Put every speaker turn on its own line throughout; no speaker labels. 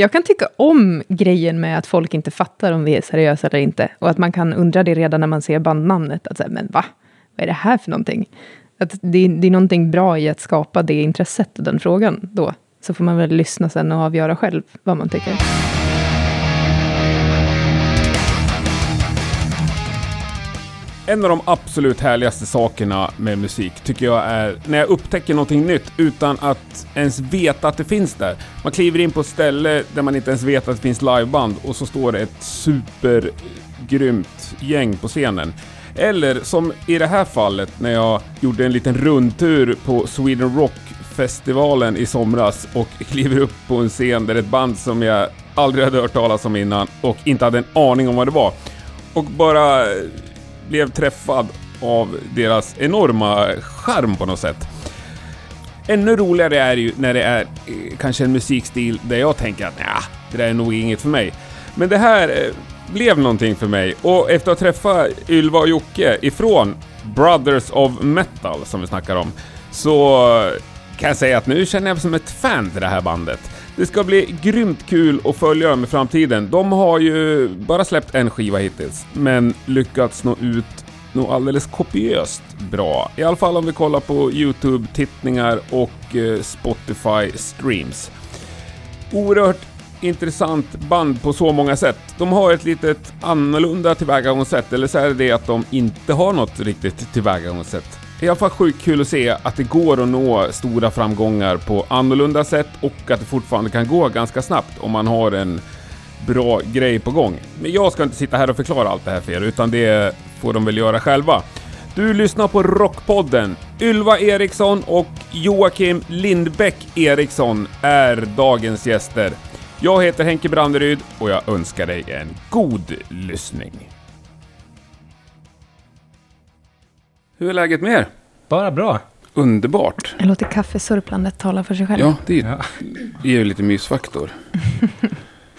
Jag kan tycka om grejen med att folk inte fattar om vi är seriösa eller inte. Och att man kan undra det redan när man ser bandnamnet. Att säga, men va? Vad är det här för någonting? Att det, det är någonting bra i att skapa det intresset och den frågan då. Så får man väl lyssna sen och avgöra själv vad man tycker.
En av de absolut härligaste sakerna med musik tycker jag är när jag upptäcker någonting nytt utan att ens veta att det finns där. Man kliver in på ett ställe där man inte ens vet att det finns liveband och så står det ett supergrymt gäng på scenen. Eller som i det här fallet när jag gjorde en liten rundtur på Sweden Rock-festivalen i somras och kliver upp på en scen där ett band som jag aldrig hade hört talas om innan och inte hade en aning om vad det var. Och bara blev träffad av deras enorma charm på något sätt. Ännu roligare är ju när det är eh, kanske en musikstil där jag tänker att nja, det där är nog inget för mig. Men det här eh, blev någonting för mig och efter att träffa Ylva och Jocke ifrån Brothers of Metal som vi snackar om så eh, kan jag säga att nu känner jag mig som ett fan till det här bandet. Det ska bli grymt kul att följa dem i framtiden. De har ju bara släppt en skiva hittills, men lyckats nå ut nog alldeles kopiöst bra. I alla fall om vi kollar på YouTube-tittningar och eh, Spotify-streams. Oerhört intressant band på så många sätt. De har ett litet annorlunda tillvägagångssätt, eller så är det det att de inte har något riktigt tillvägagångssätt. I alla fall sjukt kul att se att det går att nå stora framgångar på annorlunda sätt och att det fortfarande kan gå ganska snabbt om man har en bra grej på gång. Men jag ska inte sitta här och förklara allt det här för er, utan det får de väl göra själva. Du lyssnar på Rockpodden. Ylva Eriksson och Joakim Lindbäck Eriksson är dagens gäster. Jag heter Henke Branderyd och jag önskar dig en god lyssning. Hur är läget med er?
Bara bra.
Underbart.
Jag låter kaffesurplandet tala för sig själv.
Ja, det är- det ger ju lite mysfaktor.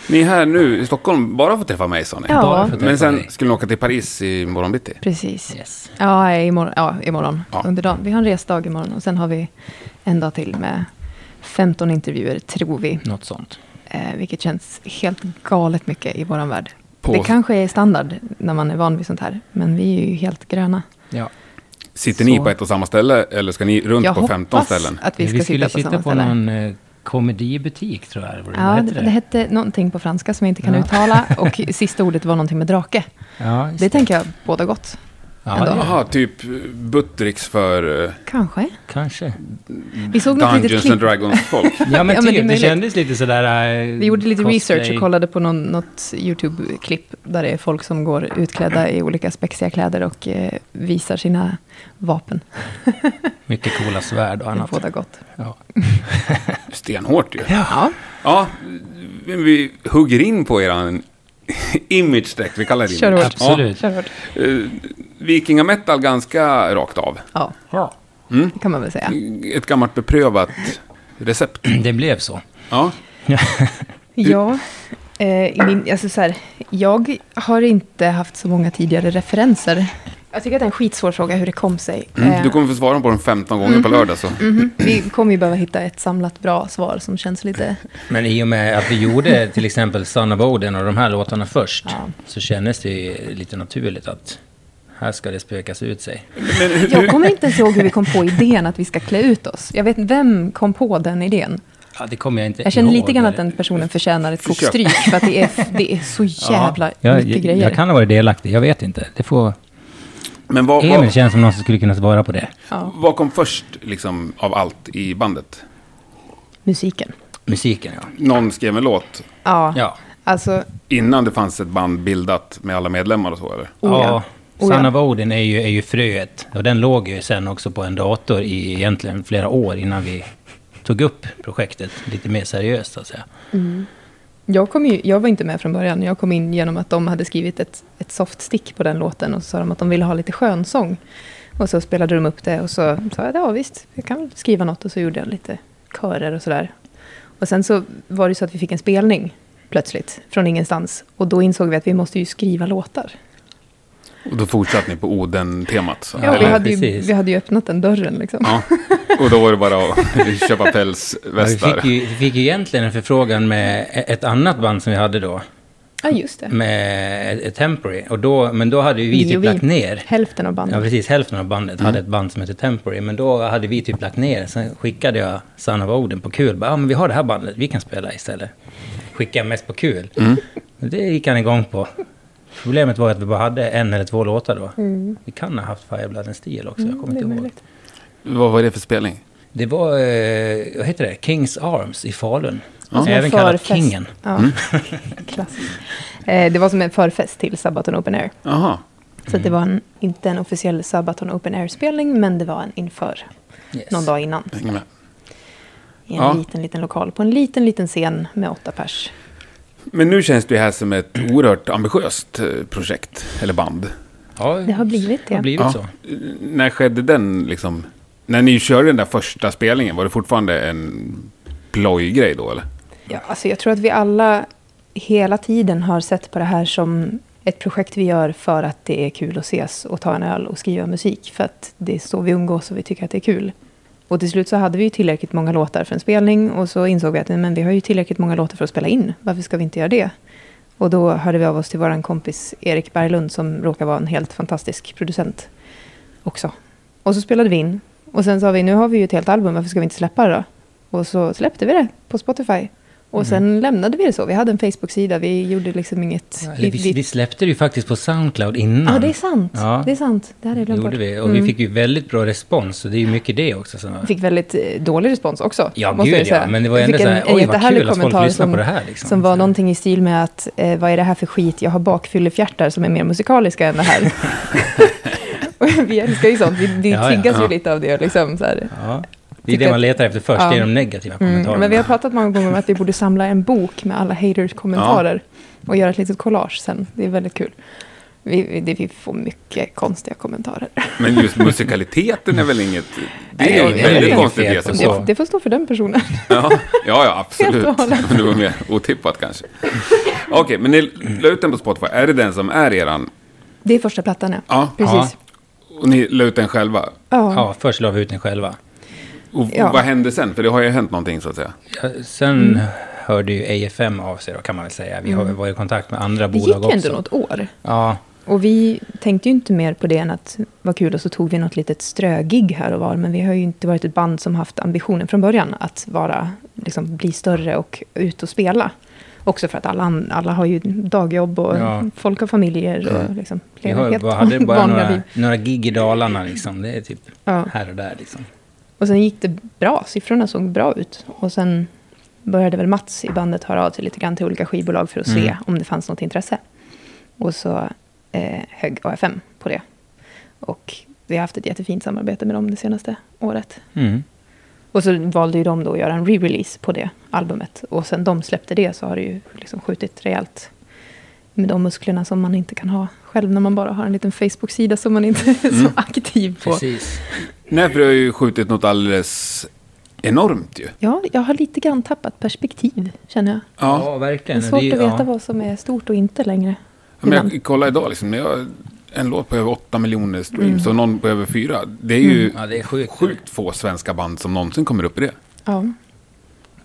Ni är här nu i Stockholm bara för att träffa mig, sa ni.
Ja.
Bara för att
Men
träffa
sen
dig.
skulle ni åka till Paris i morgon bitti.
Precis. Ja, imorgon. Ja, imorgon. Under dagen. Vi har en resdag imorgon och sen har vi en dag till med 15 intervjuer, tror vi.
Något sånt.
Eh, vilket känns helt galet mycket i vår värld.
På-
Det kanske är standard när man är van vid sånt här, men vi är ju helt gröna.
Ja.
Sitter ni
Så.
på ett och samma ställe eller ska ni runt
Jag
på 15
hoppas
ställen?
att vi ska
vi skulle
sitta på
sitta
samma
på
ställe.
någon eh, komedibutik, tror jag. Vad
Ja,
hette
det, det hette någonting på franska som jag inte kan
Ja.
uttala och sista ordet var någonting med drake.
Ja, just
Det tänker jag båda gott.
ja,
ändå.
det-
Jaha, typ Buttricks för eh,
Kanske.
kanske.
Mm. Vi såg något litet
Dungeons
klipp.
and Dragons-folk.
Ja,
men
men
det är
typ. Det
möjligt.
kändes lite sådär... eh,
Vi gjorde lite
cosplay.
research och kollade på någon, något YouTube-klipp där det är folk som går utklädda i olika spexiga kläder och eh, visar sina vapen.
Mycket coola svärd och
Det är
annat.
båda gott.
Ja.
Stenhårt ju.
Ja,
Ja, vi hugger in på eran image direkt. Vi kallar det
Kör
image.
hårt.
Absolut.
kör hårt.
Eh, Vikingametal ganska rakt av.
Ja,
Ja.
det kan man väl säga.
Ett gammalt beprövat recept.
Det blev så.
Ja.
Ja, eh, i min, alltså så här, jag har inte haft så många tidigare referenser. Jag tycker att det är en skitsvår fråga hur det kom sig. Eh,
Mm. Du kommer få svara på den 15 gånger på lördag. Så.
mhm. Vi kommer ju behöva hitta ett samlat bra svar som känns lite...
Men i och med att vi gjorde till exempel Son of Odin och de här låtarna först,
Ja.
så kändes det ju lite naturligt att här ska det spökas ut sig.
Men hur,
Jag kommer inte ens ihåg hur vi kom på idén att vi ska klä ut oss. Jag vet inte, vem kom på den idén?
Ja, det kommer jag inte
Jag känner
ihåg.
lite grann att den personen förtjänar ett kokstryk, för att det är, det är så jävla
jag,
mycket
jag,
grejer.
jag kan ha varit delaktig, jag vet inte. Det får...
men vad,
Emil
vad,
känns som någon som skulle kunna svara på det.
ja,
vad kom först liksom, av allt i bandet?
musiken.
Musiken, ja.
Någon skrev en låt
Ja,
Ja.
alltså...
innan det fanns ett band bildat med alla medlemmar och så, eller?
Oh, ja.
ja.
Oh, ja.
Son of Odin är ju, är ju fröet. Och den låg ju sen också på en dator i egentligen flera år innan vi tog upp projektet lite mer seriöst, så att säga.
Jag, kom ju, jag var inte med från början. Jag kom in genom att de hade skrivit ett, ett soft stick på den låten och så sa de att de ville ha lite skönsång. Och så spelade de upp det och så sa jag ja visst, jag kan väl skriva något och så gjorde jag lite körer och sådär. Och sen så var det så att vi fick en spelning plötsligt från ingenstans och då insåg vi att vi måste ju skriva låtar.
Och då fortsatte ni på Oden-temat. så.
Ja, vi,
Eller?
hade ju,
precis.
vi hade ju öppnat den dörren liksom.
ja. Och då var det bara att köpa
Ja, vi,
pälsvästar.
fick ju, vi fick ju egentligen en förfrågan med e- ett annat band som vi hade då.
Ja, just det.
Med ett- ett Temporary. Och då, men då hade ju Mm. vi
Vi
typ
och vi.
lagt ner.
Hälften av
Ja,
bandet.
precis. Hälften av bandet
Mm.
hade ett band som hette Temporary. Men då hade vi typ lagt ner. Sen skickade jag Son of Oden på kul. Bara, ja, men vi har det här bandet. Vi kan spela istället. Skicka mest på kul.
Mm.
Det gick han igång på. Problemet var att vi bara hade en eller två låtar då. Vi kan ha haft Fireblood and Steel också. jag kommer
Mm. det är
inte ihåg.
möjligt.
Vad var det för spelning?
Det var, eh, vad heter det? Kings Arms i Falun.
Det var som en
Även kallat
förfest.
Kingen. Mm.
Ja. Klassiskt. Eh, det var som en förfest till Sabaton Open Air.
Jaha.
Så att det
Mm.
var en, inte en officiell Sabaton Open Air-spelning, men det var en inför.
Yes.
Någon dag innan.
Hänger med.
I en
Ja.
liten, liten lokal. På en liten, liten scen med åtta pers.
Men nu känns det ju här som ett oerhört ambitiöst eh, projekt, eller band.
Ja,
Det har blivit
det har
det.
blivit så.
Eh, När skedde den liksom? När ni körde den där första spelningen, var det fortfarande en plojgrej då eller?
Ja, alltså jag tror att vi alla hela tiden har sett på det här som ett projekt vi gör för att det är kul att ses och ta en öl och skriva musik. För att det är så vi umgås och vi tycker att det är kul. Och till slut så hade vi ju tillräckligt många låtar för en spelning och så insåg vi att nej, men vi har ju tillräckligt många låtar för att spela in. Varför ska vi inte göra det? Och då hörde vi av oss till vår kompis Erik Berglund som råkar vara en helt fantastisk producent också. Och så spelade vi in. Och sen sa vi, nu har vi ju ett helt album, varför ska vi inte släppa det då? Och så släppte vi det på Spotify.
Mm.
Och sen lämnade vi det så. Vi hade en Facebook-sida, vi gjorde liksom inget...
Eller Vi, vi släppte det ju faktiskt på Soundcloud innan.
Ja, det är sant.
Ja.
Det är sant. Det hade jag
Det
glömt
gjorde
bort. Mm.
vi. Och vi fick ju väldigt bra respons. Och det är ju mycket det också. Som var...
Vi fick väldigt eh, dålig respons också.
Ja,
måste
gud
jag ju säga.
ja, men det var
Vi
ändå
fick
så här,
en- en
oj, vad
jättehärlig
kul att folk
kommentar
lyssnar
som-
på det här, liksom.
Som
Så.
var någonting i stil med att, eh, vad är det här för skit? Jag har bakfyllefjärtar som är mer musikaliska än det här. Och vi älskar ju sånt, vi, vi
Ja, ja,
triggas
ja.
ju lite av det. Liksom, så här.
Ja. Det är
Tycker
det man
att-
letar efter först,
Ja.
det är de negativa kommentarerna.
Mm, men vi har pratat många gånger om att vi borde samla en bok med alla haters-kommentarer och göra ett litet collage sen. Det är väldigt kul. Vi, vi, det- vi får mycket konstiga kommentarer.
Men just musikaliteten är väl inget...
Nej,
Det är
det är
ju
väl
väldigt
inget
konstigt att
fel
ge sig
på
på.
så.
Det, det får stå för den personen.
Ja, ja, ja absolut.
Helt och hållet.
Men det var mer otippat kanske. Okej, men ni la ut den på Spotify. Är det den som är eran?
Det är första plattan, ja.
Ja.
Precis.
Och ni la ut den själva?
Ja.
Ja, först la vi ut den själva.
Och och
Ja.
vad hände sen? För det har ju hänt någonting så att säga.
Ja, Sen
Mm.
hörde ju AFM av sig då, kan man väl säga. Vi har ju varit i kontakt med andra
Det
bolag också.
gick ju ändå något år.
Ja,
Och vi tänkte ju inte mer på det än att vad kul och så tog vi något litet strögig här och var. Men vi har ju inte varit ett band som haft ambitionen från början att vara, liksom, bli större och ut och spela. Också för att alla, alla har ju dagjobb och
Ja.
folk har familjer och liksom,
vi
lever
har,
helt
bara, hade bara
vanliga
några,
liv.
några gig i Dalarna liksom. Det är typ
Ja.
här och där liksom.
Och sen gick det bra, siffrorna såg bra ut. Och sen började väl Mats i bandet höra av sig lite grann till olika skivbolag för att se om det fanns något intresse. Och så eh, högg AFM på det. Och vi har haft ett jättefint samarbete med dem det senaste året.
Mm.
Och så valde ju de då att göra en re-release på det albumet. Och sen de släppte det så har det ju liksom skjutit rejält med de musklerna som man inte kan ha själv när man bara har en liten Facebook-sida som man inte är så aktiv på.
Precis.
Nej, för det har ju skjutit något alldeles enormt ju.
Ja, jag har lite grann tappat perspektiv, känner jag.
Ja,
Ja.
Det är
verkligen.
svårt
Det är-
att veta
ja.
vad som är stort och inte längre.
Men
Ibland.
jag kollade idag liksom. När jag, en låt på över 8 miljoner streams och någon på över 4. Det är ju
Ja, det är sjukt.
sjukt få svenska band som någonsin kommer upp i det.
Ja,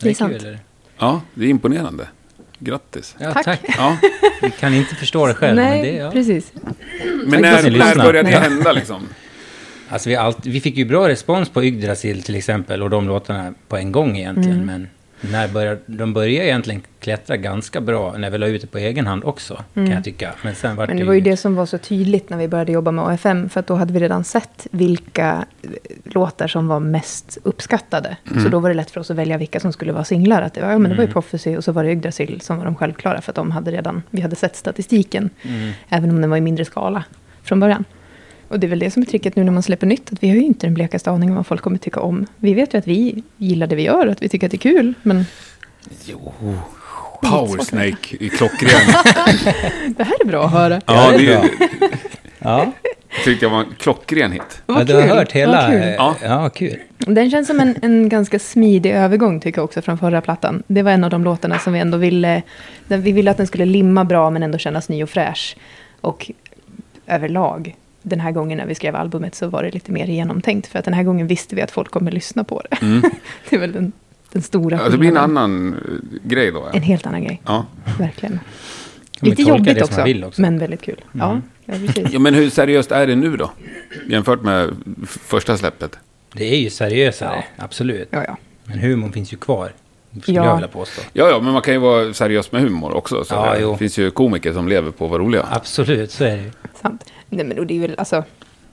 det är sant.
eller?
Ja, det är imponerande. Grattis.
Ja,
Tack.
tack.
Ja.
Vi kan inte förstå det själv.
Nej,
men det, ja.
precis.
Men
Jag
när,
kan
när
lyssna.
började det
Ja.
hända liksom?
Alltså vi, har allt, vi fick ju bra respons på Yggdrasil till exempel och de låtarna på en gång egentligen.
Mm.
Men när började, de började egentligen klättra ganska bra när vi la ut det på egen hand också, kan jag tycka. Men sen var
Mm. Men det var ju det som var så tydligt när vi började jobba med AFM, för att då hade vi redan sett vilka eh, låtar som var mest uppskattade. Så då var det lätt för oss att välja vilka som skulle vara singlar. Att det, var- ja, men det var ju Prophecy och så var det Yggdrasil som var de självklara, för att de hade redan, vi hade sett statistiken, även om den var i mindre skala från början. Och det är väl det som är tricket nu när man släpper nytt, att vi har ju inte den blekaste aning om vad folk kommer tycka om. Vi vet ju att vi gillar det vi gör, att vi tycker att det är kul, men
Power Snake i klockren.
det här är bra att höra.
ja, det
det är
är ju-
Ja,
tyckte jag var en klockren hit.
ja
Vad
du har
kul,
hört
vad
hela...
kul.
eh,
Ja.
Ja, kul.
Den känns som en, en ganska smidig övergång tycker jag också från förra plattan. Det var en av de låtarna som vi ändå ville... Den, vi ville att den skulle limma bra men ändå kännas ny och fräsch. Och överlag. Den här gången när vi skrev albumet så var det lite mer genomtänkt. För att den här gången visste vi att folk kommer lyssna på det. det är väl den, den stora
Mm. Ja, det blir en
skillnaden.
annan eh, grej då.
En
Ja.
helt annan grej,
Ja.
verkligen.
man
Lite
tolka
jobbigt
det som man
också,
vill också. Mm.
men väldigt kul. Ja, ja, precis.
ja, men hur seriöst är det nu då? Jämfört med f- första släppet.
Det är ju seriösare, absolut.
Ja, ja.
Men humorn finns ju kvar, skulle
Ja.
jag vilja påstå.
Ja, ja, men man kan ju vara seriös med humor också. Så
Ja,
det
jo.
finns ju komiker som lever på att vara roliga.
Absolut, så är det ju.
Sant. Nej, men och det är väl, alltså,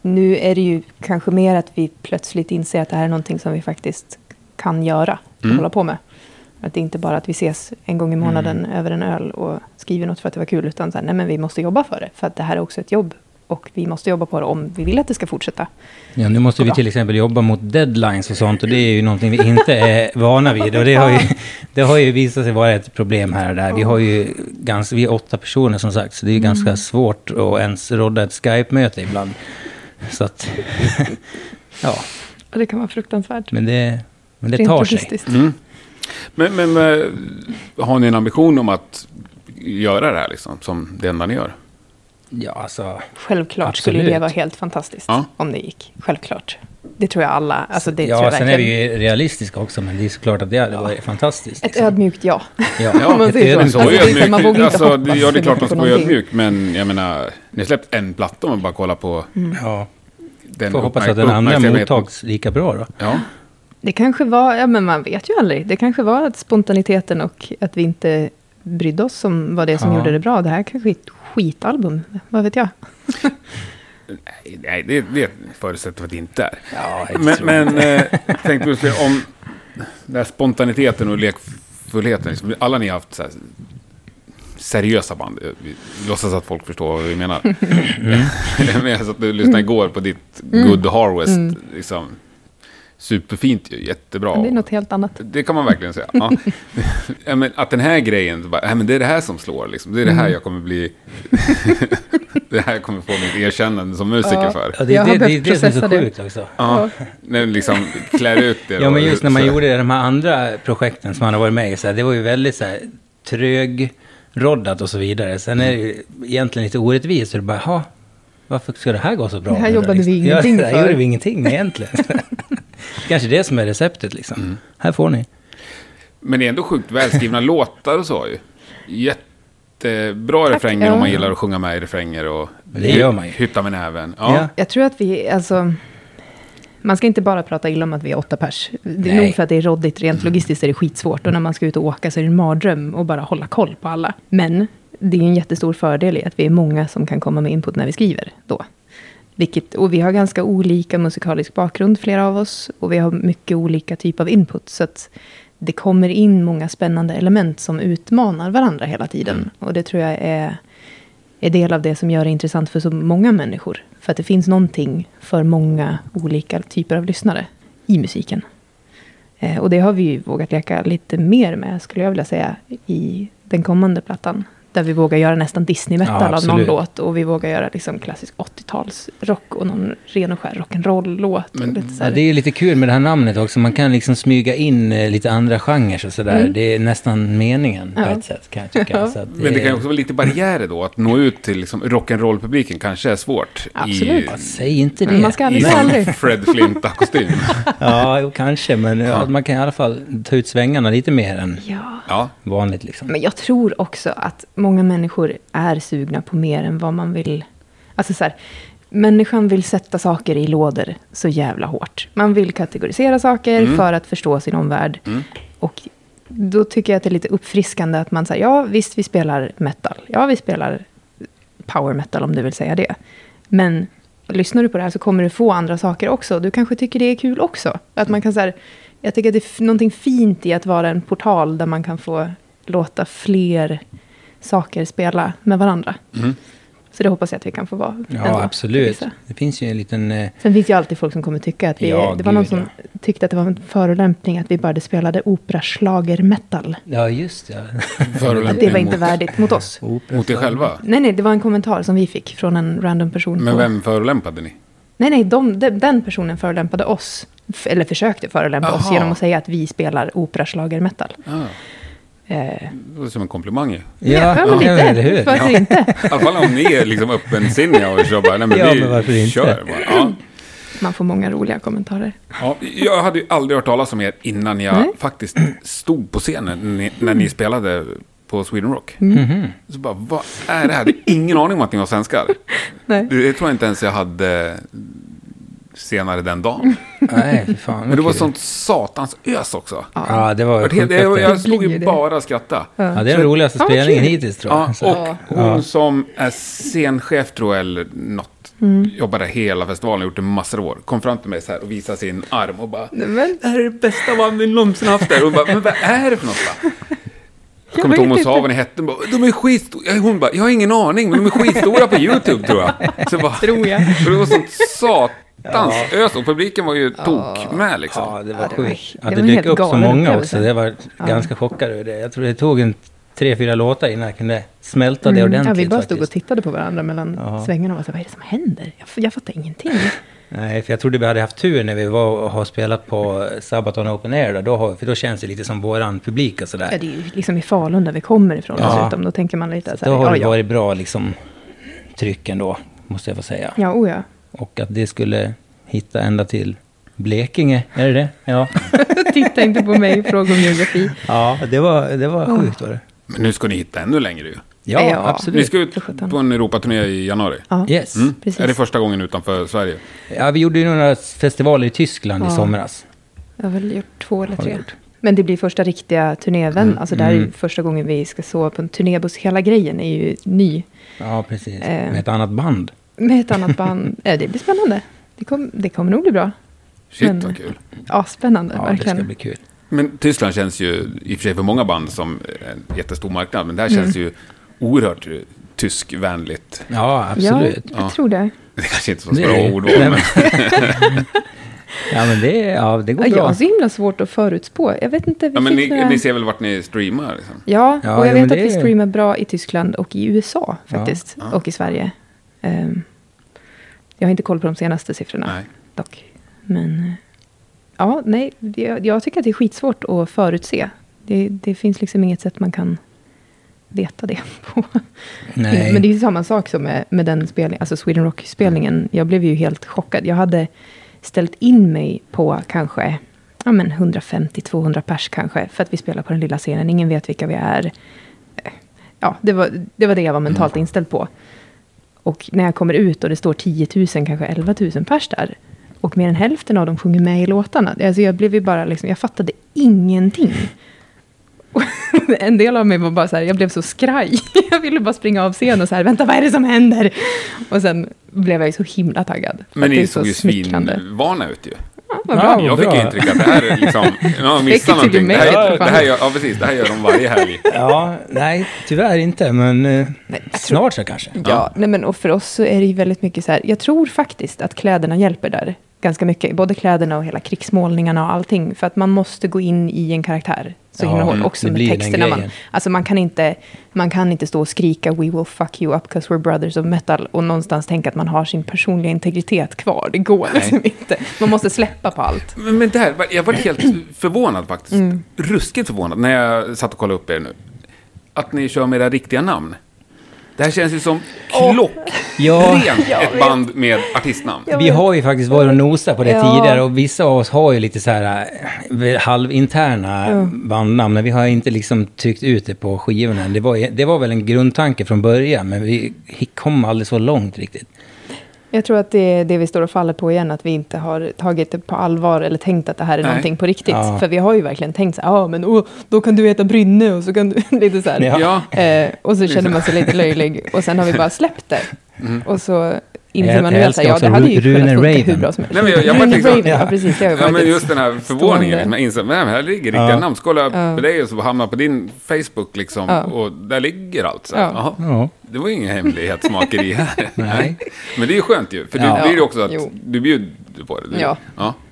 nu är det ju kanske mer att vi plötsligt inser att det här är någonting som vi faktiskt kan göra och
Mm.
hålla på med. Att det är inte bara att vi ses en gång i månaden
Mm.
över en öl och skriver något för att det var kul, utan så här, nej men vi måste jobba för det, för att det här är också ett jobb. Och vi måste jobba på det om vi vill att det ska fortsätta.
Ja, nu måste vi till exempel jobba mot deadlines och sånt och det är ju någonting vi inte är vana vid. Och det har ju, det har ju visat sig vara ett problem här och där. Vi har ju ganska, vi är åtta personer som sagt, så det är ju
Mm.
ganska svårt att ens rodda ett Skype-möte ibland. Så att, ja,
Och det kan vara fruktansvärt.
men det, men det tar sig. Mm.
logistiskt.
Men, men eh, har ni en ambition om att göra det här liksom, som det enda ni gör?
Ja, alltså,
Självklart skulle ju det
Absolut.
vara helt fantastiskt
Ja.
om det gick. Självklart. Det tror jag alla. Alltså det tror
ja,
jag
sen är
verkligen.
vi ju realistiska också, men det är såklart att det hade varit fantastiskt. liksom.
Ett ödmjukt ja.
Ja,
Om man
ett
säger så.
ödmjukt-
Så
Alltså, det är så här,
ödmjuk.
man vågar inte
alltså,
hoppas
det- ja, det är klart man
på
ska vara
någonting.
ödmjuk, men jag menar, ni har släppt en platta om man bara kollar på
Mm.
Ja,
den
får hoppas
uppmärk-
att den andra
uppmärksamheten.
mottags lika bra då.
Ja.
Det kanske var, ja men man vet ju aldrig. Det kanske var att spontaniteten och att vi inte brydde oss som var det som
Ja.
gjorde det bra. Det här kanske är ett skitalbum, vad vet jag?
Nej, Nej, det, det förutsätter vi att det inte är.
Ja,
Men, men eh, tänkte just det, om den här spontaniteten och lekfullheten. Liksom, alla ni har haft så här, seriösa band. Eh, Vi låtsas att folk förstår vad vi menar. Mm. jag satt och lyssnade igår på ditt
Mm.
Good Harvest. Liksom, superfint ju, jättebra.
Men det är något helt annat.
Det kan man verkligen säga. Ja. Ja, men att den här grejen, så bara, "Nej, men det är det här som slår. Liksom. Det är det
Mm.
här jag kommer bli... det här jag kommer få mitt erkännande som musiker för.
Ja, det,
Jag
är
har
det, det, är
behövt
det som är så
processa det.
sjukt också.
Ja, när den liksom klär ut det.
Ja,
då.
men just när man
Så-
gjorde de här andra projekten som han har varit med i, så här, det var ju väldigt så här, trög roddat och så vidare. Sen är det ju egentligen lite orättvist, så det bara, "Ha, varför ska det här gå så bra?
Det här jobbade vi
Liksom.
ingenting
ja, det här
för.
gjorde vi ingenting med egentligen. Kanske det som är receptet liksom.
Mm.
Här får ni.
Men det är ändå sjukt välskrivna låtar och så ju. Jättebra refränger om man
ja.
gillar att sjunga med i refränger och
Det gör man ju.
hytta med näven. Ja.
Ja.
Jag tror att vi, alltså, man ska inte bara prata illa om att vi är åtta pers. Det är
Nej.
nog för att det är råddigt, rent logistiskt är det skitsvårt. Och när man ska ut och åka så är det en mardröm att bara hålla koll på alla. Men det är en jättestor fördel i att vi är många som kan komma med input när vi skriver då. Vilket, och vi har ganska olika musikalisk bakgrund, flera av oss. Och vi har mycket olika typ av input. Så att det kommer in många spännande element som utmanar varandra hela tiden. Och det tror jag är är del av det som gör det intressant för så många människor. För att det finns någonting för många olika typer av lyssnare i musiken. Eh, Och det har vi ju vågat leka lite mer med, skulle jag vilja säga, i den kommande plattan. Där vi vågar göra nästan Disney-metal
Ja,
av någon
absolut.
låt. Och vi vågar göra liksom klassisk 80-talsrock och någon ren och skär rock'n'roll-låt. och lite så
Ja,
här.
det är ju lite kul med det här namnet också. Man kan liksom smyga in eh, lite andra genrer och sådär. Det är nästan meningen på
Mm. Ja.
ett sätt kan jag tycka.
Ja.
Så att
Men det kan ju också vara lite barriärer då, att nå ut till liksom rock'n'roll-publiken kanske är svårt.
Absolut.
I,
Säg inte det.
Men man ska aldrig
i
säga
sån
aldrig.
Fred Flinta-kostym.
Ja, jo, kanske. Men ja, man kan i alla fall ta ut svängarna lite mer än
Ja.
Ja.
vanligt. Liksom.
Men jag tror också att många människor är sugna på mer än vad man vill. Alltså så här, människan vill sätta saker i lådor så jävla hårt. Man vill kategorisera saker för att förstå sin omvärld. Och då tycker jag att det är lite uppfriskande att man säger, ja visst vi spelar metal. Ja vi spelar power metal om du vill säga det. Men lyssnar du på det här så kommer du få andra saker också. Du kanske tycker det är kul också. Att man kan så här, jag tycker att det är f- någonting fint i att vara en portal där man kan få låta fler saker spela med varandra.
Mm.
Så det hoppas jag att vi kan få vara. ändå,
Ja,
för
absolut.
vissa.
Det finns ju en liten... eh,
Sen finns ju alltid folk som kommer tycka att vi...
Ja,
det var någon
gud,
som tyckte att det var en förolämpning att vi bara spelade operaschlagermetal.
Ja, just det.
Att det var
Förolämpning
inte
mot,
värdigt mot oss.
mot er själva.
Nej, nej, det var en kommentar som vi fick från en random person.
Men
på-
vem förolämpade ni?
Nej, nej, de, de, den personen förolämpade oss. F- eller försökte förolämpa oss
Aha.
genom att säga att vi spelar operaschlagermetal.
Ah.
Eh, Eh,
Det låter som en komplimang ju.
ja, men lite.
men eller hur?
Varför inte?
I alla fall om ni är liksom öppensinniga och kör bara, nej men
Ja,
vi
men varför inte?
kör bara. Ja.
Man får många roliga kommentarer.
Ja, jag hade ju aldrig hört talas om er innan jag
Nej.
faktiskt stod på scenen när ni, när ni spelade på Sweden Rock.
Mm.
Så bara, vad är det här? Det är ingen aning om att ni var svenskar.
Nej.
Det det tror jag inte ens jag hade senare den dagen.
Nej, fy fan.
Men det var
kul.
sånt satans ös också.
Ja, det var
Jag, jag,
sjukt häftigt.
jag, jag stod
blir
ju
det.
bara och skrattade.
Ja, det är den roligaste
Ja, vad
spelningen
kul.
hittills tror jag.
Ja,
Så-
och hon som är scenchef tror jag, eller något,
Mm.
jobbade hela festivalen, gjort det massor av år, kom fram till mig så här och visade sin arm och bara
Nej, Men,
Det här är det bästa band vi någonsin haft där. Hon bara, men vad är det för något va? Jag kommer inte ihåg vad hon
typ-
sa vad ni hette. Hon bara, De är skitstora. Hon bara, jag har ingen aning, men de är skitstora på YouTube tror jag. Så jag bara,
Tror jag.
För det var sånt satans ös och publiken var ju tok med liksom.
Ja, det var
Ja, det var-
sjukt.
det
Att
var
det
en
dök
helt
upp så
galen
många
upplevelse.
också. Det var ganska chockad över det. Jag tror det tog en tre, fyra låtar innan jag kunde smälta det
Mm. ja,
ordentligt
vi bara stod och
faktiskt.
tittade på varandra mellan
Ja.
svängarna och var så här, vad är det som händer? Jag, jag fattar ingenting.
Nej, för jag trodde vi hade haft tur när vi var och har spelat på Sabaton Open Air. Då, då, har- för då känns det lite som våran publik och
Ja,
sådär.
det är ju liksom i Falun där vi kommer ifrån
Ja.
dessutom. Då tänker man lite så
Då
här,
har
ja,
det
ja.
varit bra liksom, tryck ändå, måste jag få säga.
Ja, oh ja.
Och att det skulle hitta ända till Blekinge, är det det? Ja,
Titta inte på mig, fråga om geografi.
ja det, var, det var sjukt var det.
Men nu ska ni hitta ännu längre ju.
Ja,
Ja.
Ni
absolut.
ska ut
För Mm. sjutton.
på en Europaturné i januari.
Ja,
Yes.
precis.
Mm. Är det första gången utanför Sverige?
Ja, vi gjorde ju några festivaler i Tyskland
Ja.
i somras.
Jag har väl gjort två eller
Har du
tre.
gjort? Mm.
Men det blir första riktiga turnéven. Alltså det här är ju första gången vi ska sova på en turnébuss. Hela grejen är ju ny.
Ja, precis.
Eh.
Med ett annat band.
Med ett annat band. Eh, det blir spännande. Det, kom, det kommer nog bli bra.
Shit
Men-
vad kul.
Ja, spännande.
Ja, det
verkligen.
ska bli kul.
Men Tyskland känns ju, i och för sig för många band, som en jättestor marknad. Men det här känns
Mm.
ju oerhört eh, tyskvänligt.
Ja,
Ja,
absolut.
jag
Ja.
tror det.
Det kanske inte är
Det
så
är
bra
det.
ordval,
Nej,
men
Ja, men det, ja, det går
Ja, Jag
bra.
har så himla svårt att förutspå. Jag vet inte. Vi
Ja, men
fick
ni,
några-
ni ser väl vart ni streamar? Liksom.
Ja,
Ja,
och
jo,
jag vet
men
att
det
vi
är-
streamar bra i Tyskland och i USA faktiskt.
ja.
Och i Sverige. Ehm, jag har inte koll på de senaste siffrorna
Nej.
dock. Men eh, ja, nej, det, jag tycker att det är skitsvårt att förutse. Det, det finns liksom inget sätt man kan veta det på.
Nej.
Men det är ju samma sak som med, med den spelningen, alltså Sweden Rock-spelningen. Jag blev ju helt chockad. Jag hade ställt in mig på kanske ja, men 150-200 pers kanske, för att vi spelar på den lilla scenen. Ingen vet vilka vi är. Eh, Ja, det var det, var det jag var mentalt inställd på. Och när jag kommer ut och det står 10 000, kanske 11 000 pers där, och mer än hälften av dem sjunger med i låtarna. Alltså jag blev ju bara liksom, jag fattade ingenting. Och en del av mig var bara så här, jag blev så skraj. Jag ville bara springa av scenen och så här, vänta vad är det som händer? Och sen blev jag ju så himla taggad. För
Men
att det är
ni
så
såg ju
smickrande.
svinvana ut ju.
Ja, vad
Ja,
bra.
Jag fick
bra.
ju intryck att det här är liksom, jag har missat
tycker
någonting. Det
mig
här,
också,
det
fan.
här gör, ja, precis, det här gör de varje helg.
Ja, nej, tyvärr inte, men eh, snart så kanske.
Ja, nej men och för oss så är det ju väldigt mycket så här, jag tror faktiskt att kläderna hjälper där. Ganska mycket, både kläderna och hela krigsmålningarna och allting. För att man måste gå in i en karaktär så
Ja,
himla hårt.
mm,
Också
det
med
blir den
texterna. Man,
grejen.
alltså man, kan inte, man kan inte stå och skrika “We will fuck you up cause we're brothers of metal” och någonstans tänka att man har sin personliga integritet kvar. Det går liksom inte. Man måste släppa på allt.
Men, men där, var- jag var helt förvånad faktiskt.
Mm.
Ruskigt förvånad när jag satt och kollade upp er nu. Att ni kör med era riktiga namn. Det här känns ju som klockrent
Ja,
ett band med artistnamn.
Ja.
vi har ju faktiskt varit och nosat på det
Ja.
tidigare och vissa av oss har ju lite så här eh, halvinterna bandnamn, men vi har inte liksom tryckt ut det på skivorna. än. Det var, ju- det var väl en grundtanke från början, men vi kom aldrig så långt riktigt.
Jag tror att det är det vi står och faller på igen, att vi inte har tagit det på allvar eller tänkt att det här är
Nej.
någonting på riktigt.
Ja.
För vi har ju verkligen tänkt så här, ja men åh, då kan du heta Brynne och så kan du, lite så här.
Ja.
Ja,
Eh, och så känner man sig lite löjlig och sen har vi bara släppt det. Och så inser
Mm. Jag-
man
jag
nu att
älskar
ja,
också
det hade ju
Ru-
kunnat
Rune
funka hur
Raven.
bra som helst.
Nej, men jag- jag bara
Rune
tänkte så-
Raven, ja precis, det har ju
Ja,
varit
men
ett-
just den här förvåningen.
stående-
Man inser, men här ligger riktiga
Ja.
namn. Så kollar jag
Ja.
på dig och så hamnar på din Facebook liksom.
Ja.
Och där ligger allt. Så.
Ja.
här. Jaha.
Ja.
Det var ju ingen hemlighetsmakeri här.
Nej.
Men det är ju skönt ju. För
Ja.
det blir ju också att
Jo.
du bjuder på det. Du,
Ja.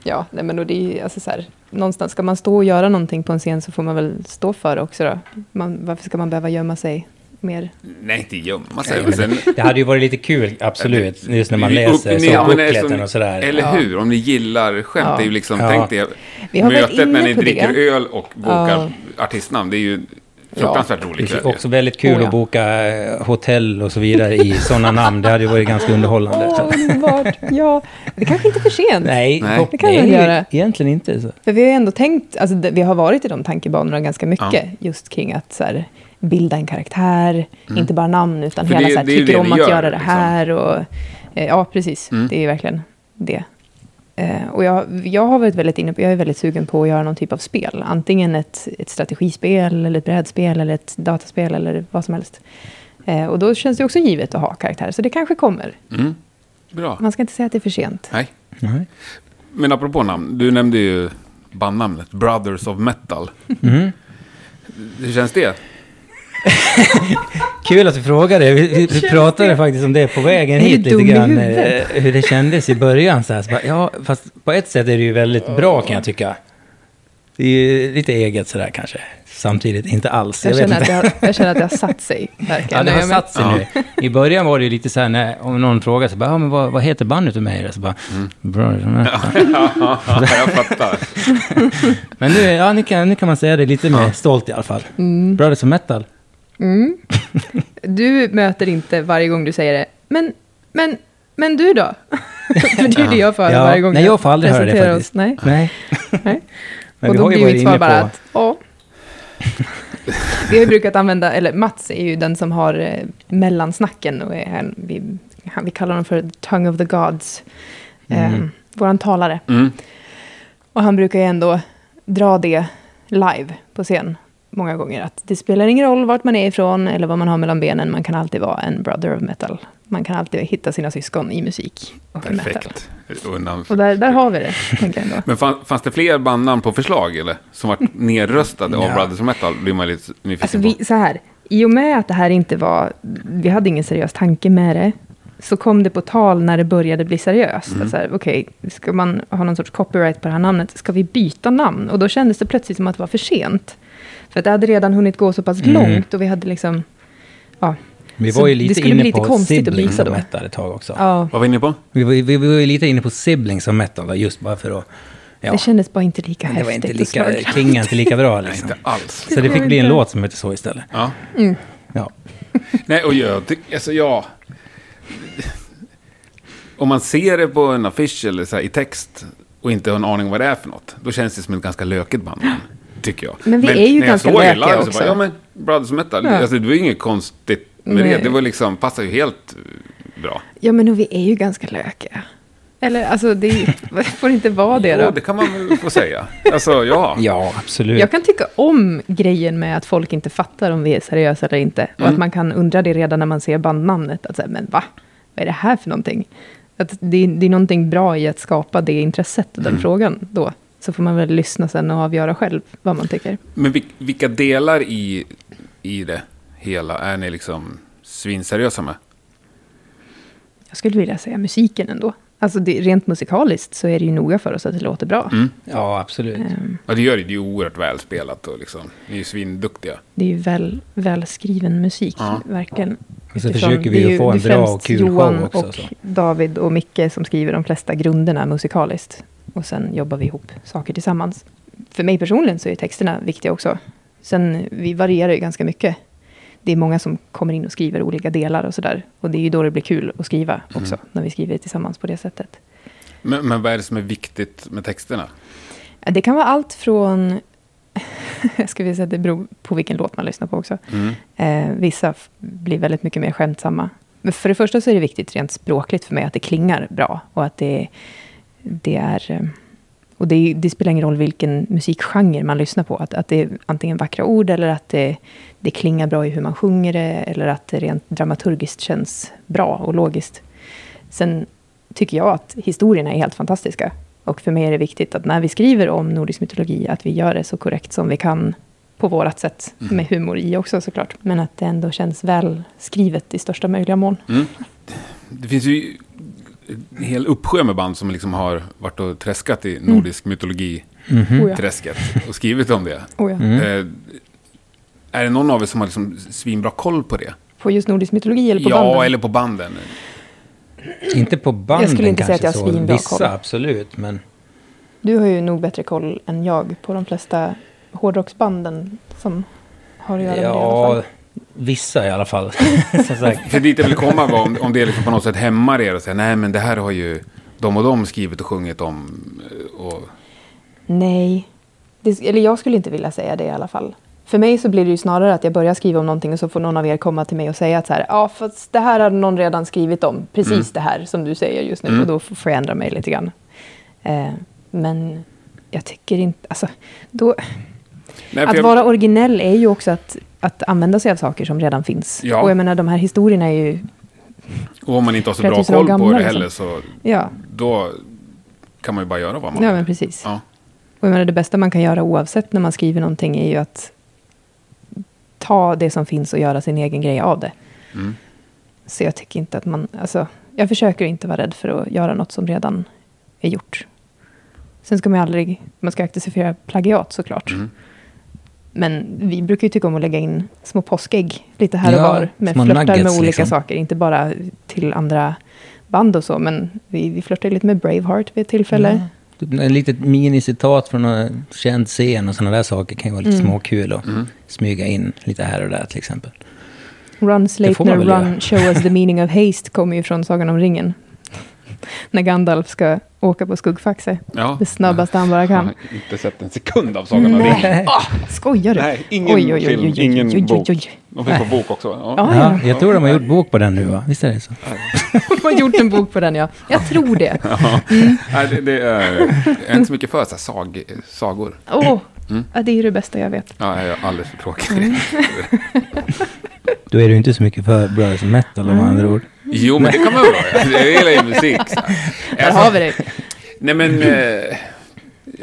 Ja, nej men och det är ju, alltså så här, någonstans ska man stå och göra någonting på en scen så får man väl stå för det också då. Man, varför ska man behöva gömma sig mer?
Nej, inte gömma sig.
Nej,
Men
men
sen,
det- det hade ju varit lite kul, absolut, just när man
det är ju upp-
läser
nej,
som
men det är
bookleten
som-
och sådär.
Eller hur? Om ni gillar skämt.
Ja.
Det är ju liksom,
Ja.
tänk det.
Vi har varit
Mötet när
inne
ni
på
dricker
det.
öl och bokar artistnamn. Det är ju Fruktansvärt rolig
Det
kväll.
är också väldigt kul
Oh, ja.
att boka eh, hotell och så vidare i sådana namn. Det hade ju varit ganska underhållande.
Åh, underbart! Ja, det kanske inte är för sent.
Nej,
Nej.
hopp-
Det kan man
ju
göra.
Egentligen inte. Så.
För vi har ju ändå tänkt, alltså det- vi har varit i de tankebanorna ganska mycket, just kring att så här, bilda en karaktär, inte bara namn, utan
Mm. För
hela
det-
så här,
det är ju
tycker
det
om
vi
att
gör,
göra det
liksom. Mm.
här och... Eh, ja, precis. Det är ju verkligen det. Eh, och jag, jag har varit väldigt inne på, jag är väldigt sugen på att göra någon typ av spel. Antingen ett, ett strategispel, eller ett brädspel, eller ett dataspel, eller vad som helst. Eh, och då känns det också givet att ha karaktärer, så det kanske kommer.
Mm. Bra.
Man ska inte säga att det är för sent.
Nej.
Nej.
Men apropå namn, du nämnde ju bandnamnet Brothers of Metal.
Mm.
Hur känns det?
Kul att du frågade. Vi, vi, vi pratade faktiskt om det på vägen
Är du
hit lite
dum i
grann. eh,
huvudet?
Hur det kändes i början. Så här. Så bara, ja, fast på ett sätt är det ju väldigt bra kan jag tycka. Det är ju lite eget sådär kanske. Samtidigt inte alls.
Jag,
vet
känner,
inte.
att det har, jag känner att det har satt sig. verkligen.
Ja, det har
Jag-
satt sig nu. I början var det ju lite så här, när, om någon frågade så bara, ja, men vad, vad heter bandet du med i? Så bara, bra, det är med."
ja, jag fattar.
Men nu, ja, nu, kan, nu kan man säga det lite mer stolt i alla fall.
Mm.
Bra det som metal.
Du möter inte varje gång du säger det. Men, men, men du då? För det är det jag får höra
Ja,
varje gång
nej, jag får aldrig höra det
presenterar
faktiskt.
Oss. Nej.
Nej.
nej.
Men
och
vi
då
har ju
blir
varit
mitt
inne
svar
på-
bara att, ja. Vi har ju brukat använda, eller Mats är ju den som har eh, mellansnacken och är, här- vi, han, vi kallar honom för the tongue of the gods.
Mm.
Eh, våran talare.
Mm.
Och han brukar ju ändå dra det live på scen många gånger. Att det spelar ingen roll vart man är ifrån eller vad man har mellan benen. Man kan alltid vara en brother of metal. Man kan alltid hitta sina syskon i musik och i metal.
Perfekt. Undan.
Och där, där har vi det, tänker jag ändå.
Men fann, fanns det fler bandnamn på förslag eller? Som var nerröstade av
Ja.
Brothers of Metal? Blir man lite nyfiken
Alltså
Liksom
på.
vi, så här, i och med att det här inte var, vi hade ingen seriös tanke med det, så kom det på tal när det började bli seriöst. Mm. Okej, ska man ha någon sorts copyright på det här namnet, ska vi byta namn? Och då kändes det plötsligt som att det var för sent. För att det hade redan hunnit gå så pass långt och vi hade liksom, ja.
Mm. Vi
Så
var ju
det
lite
skulle bli
inne
lite
på
konstigt att
siblings
byta
som
då.
metal ett tag också.
ja.
Vad var vi inne på?
Vi, var, ju- vi, vi var ju lite inne på siblings som metal, då, just bara för att... Ja,
Det kändes bara inte lika
men det var
häftigt
inte
och
lika,
slagkraftigt.
klingade inte lika bra liksom.
Inte alls.
Så det fick bli en låt som hette så istället.
Ja.
Ja.
Nej, och jag tycker, alltså ja. Om man ser det på en affisch eller så här, i text och inte har en aning om vad det är för något, då känns det som ett ganska lökigt band. Tycker jag.
Men vi är ju
när jag
ganska
såg det
lökiga
live Så
också.
bara, ja, men Brothers Metal,
Ja.
alltså, det var ju inget konstigt med
Nej.
det. Det var liksom, passar ju helt eh, bra.
Ja, men och vi är ju ganska lökiga. Eller alltså, det är- får inte vara det då.
Jo, det kan man väl få säga. Alltså, ja.
Ja, absolut.
Jag kan tycka om grejen med att folk inte fattar om vi är seriösa eller inte. Och att man kan undra det redan när man ser bandnamnet. Att säga, men va? Vad är det här för någonting? Att det, det är någonting bra i att skapa det intresset och den frågan då. Så får man väl lyssna sen och avgöra själv vad man tycker.
Men vil- vilka delar i, i det hela är ni liksom svinseriösa med?
Jag skulle vilja säga musiken ändå. Alltså det, rent musikaliskt så är det ju noga för oss att det låter bra. Ehm.
Ja, absolut.
Ja, det gör det. Det är ju oerhört välspelat och liksom, ni är ju svinduktiga.
Det är ju väl, välskriven musik,
Ja.
verkligen.
Och så
Utifrån-
försöker vi ju
det är
få en
det är
bra
främst
och kul show
Johan
också, alltså.
och
så.
David och Micke som skriver de flesta grunderna musikaliskt. Och sen jobbar vi ihop saker tillsammans. För mig personligen så är texterna viktiga också. Sen, vi varierar ju ganska mycket. Det är många som kommer in och skriver olika delar och sådär. Och det är ju då det blir kul att skriva också, när vi skriver tillsammans på det sättet.
Men, men vad är det som är viktigt med texterna?
Ja, Det kan vara allt från... jag skulle vilja säga att det beror på vilken låt man lyssnar på också. Eh, vissa f- blir väldigt mycket mer skämtsamma. Men för det första så är det viktigt rent språkligt för mig att det klingar bra. Och att det, det är... eh, Och det, det spelar ingen roll vilken musikgenre man lyssnar på. Att, att det är antingen vackra ord eller att det, det klingar bra i hur man sjunger det. Eller att det rent dramaturgiskt känns bra och logiskt. Sen tycker jag att historierna är helt fantastiska. Och för mig är det viktigt att när vi skriver om nordisk mytologi, att vi gör det så korrekt som vi kan på vårt sätt,
Mm.
med humor i också såklart. Men att det ändå känns väl skrivet i största möjliga mån.
Det finns ju en hel uppsjö med band som liksom har varit och träskat i nordisk mytologi-träsket
Mm. Oh ja.
och skrivit om det.
Oh ja.
Eh, är det någon av er som har liksom svinbra koll på det?
På just nordisk mytologi eller på
ja,
banden?
eller på banden.
Inte på banden
Jag skulle inte säga
kanske,
att jag har
så.
svinbra
Vissa,
koll.
absolut, men...
Du har ju nog bättre koll än jag på de flesta hårdrocksbanden som har att göra med det i alla
Ja,
fall.
vissa i alla fall. Som sagt.
För dit jag vill komma var om, om det liksom på något sätt hämmar er och säger nej men det här har ju de och de skrivit och sjungit om. eh, Och,
Nej. Det, eller jag skulle inte vilja säga det i alla fall. För mig så blir det ju snarare att jag börjar skriva om någonting och så får någon av er komma till mig och säga att så här, ja, fast det här har någon redan skrivit om, precis
Mm.
det här som du säger just nu. Och då f- får jag ändra mig lite grann. Eh, men jag tycker inte, alltså, då,
nej, för
att
jag-
vara originell är ju också att, att använda sig av saker som redan finns.
Ja.
Och jag menar, de här historierna är ju,
och om man inte har så
30
bra
år
koll på
gamla,
det
liksom.
heller så
ja,
då kan man ju bara göra vad man
ja
vill.
men precis.
Ja.
Och jag menar, det bästa man kan göra oavsett när man skriver någonting är ju att ta det som finns och göra sin egen grej av det.
Mm.
Så jag tycker inte att man... Alltså, jag försöker inte vara rädd för att göra något som redan är gjort. Sen ska man ju aldrig... Man ska akta sig för att göra plagiat såklart.
Mm.
Men vi brukar ju tycka om att lägga in små påskägg lite här och
Ja,
var. Med
små
flörtar med
nuggets,
olika
liksom.
saker, inte bara till andra band och så. Men vi, vi flörtar ju lite med Braveheart vid ett tillfälle.
Typ en litet minicitat från någon känd scen och sådana där saker kan ju vara lite
Mm.
småkul och smyga in lite här och där till exempel.
Run
får man
Sleipner,
väl
run
göra.
show us the meaning of haste kommer ju från Sagan om ringen. När Gandalf ska åka på skuggfaxe.
Ja.
Det snabbaste han bara
Jag
kan.
har inte sett en sekund av Sagan om ringen.
Skojar du?
Nej, ingen film, ingen bok. De finns på bok också. va? Ja.
Ja,
Ja,
ja.
jag tror de har gjort bok på den nu va? Visst är det så?
De har gjort en bok på den, ja. Jag tror det.
Nej, det, det är, jag är inte så mycket för så här, sag, sagor.
Åh,
Mm.
ja, det är ju det bästa jag vet.
Ja, jag är alldeles för tråkig.
Då är du inte så mycket för Brothers Metal
Mm.
om andra ord.
Jo, men det kan man väl vara. Jag gillar ju musik. Så. här.
Där har vi det.
Nej, men eh,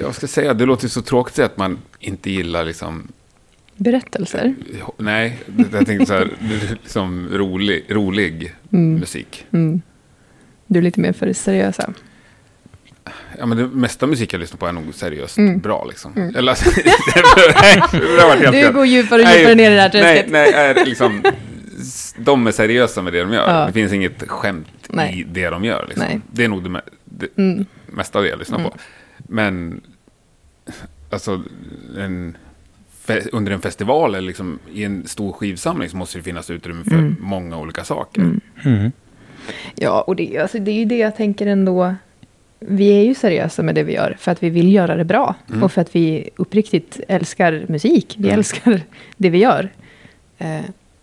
jag ska säga, det låter ju så tråkigt att säga att man inte gillar liksom...
Berättelser.
Nej, jag tänkte så här, liksom rolig, rolig musik.
Du är lite mer för seriösa.
Ja, men det mesta musik jag lyssnar på är nog seriöst bra. Liksom. Eller, alltså, nej, det har varit helt
Du
fel.
går djupare och
Nej,
djupare ner i det här träsket.
Nej, nej är liksom, s- de är seriösa med det de gör.
Ja.
Det finns inget skämt i
Nej.
det de gör. Liksom.
Nej.
Det är nog det, me- det mesta av det jag lyssnar på. Men alltså, en, fe- under en festival eller liksom, i en stor skivsamling så måste det finnas utrymme för många olika saker.
Mm.
Ja, och det, alltså, det är ju det jag tänker ändå. Vi är ju seriösa med det vi gör för att vi vill göra det bra. Och för att vi uppriktigt älskar musik. Vi älskar det vi gör. Eh,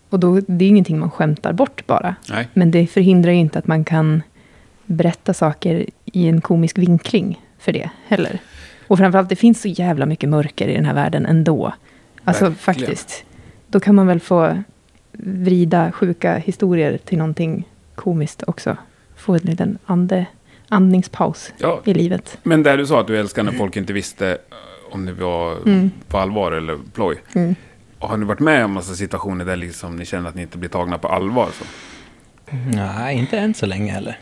och då, det är ingenting man skämtar bort bara.
Nej.
Men det förhindrar ju inte att man kan berätta saker i en komisk vinkling för det heller. Och framförallt, det finns så jävla mycket mörker i den här världen ändå. Alltså
Verkligen.
faktiskt. Då kan man väl få vrida sjuka historier till någonting komiskt också. Få en liten ande, andningspaus
Ja.
i livet.
Men där du sa att du älskar när folk inte visste eh, om det var
Mm.
på allvar eller ploj. Har ni varit med om massa situationer där liksom ni känner att ni inte blir tagna på allvar? Så?
Nej, inte än så länge heller.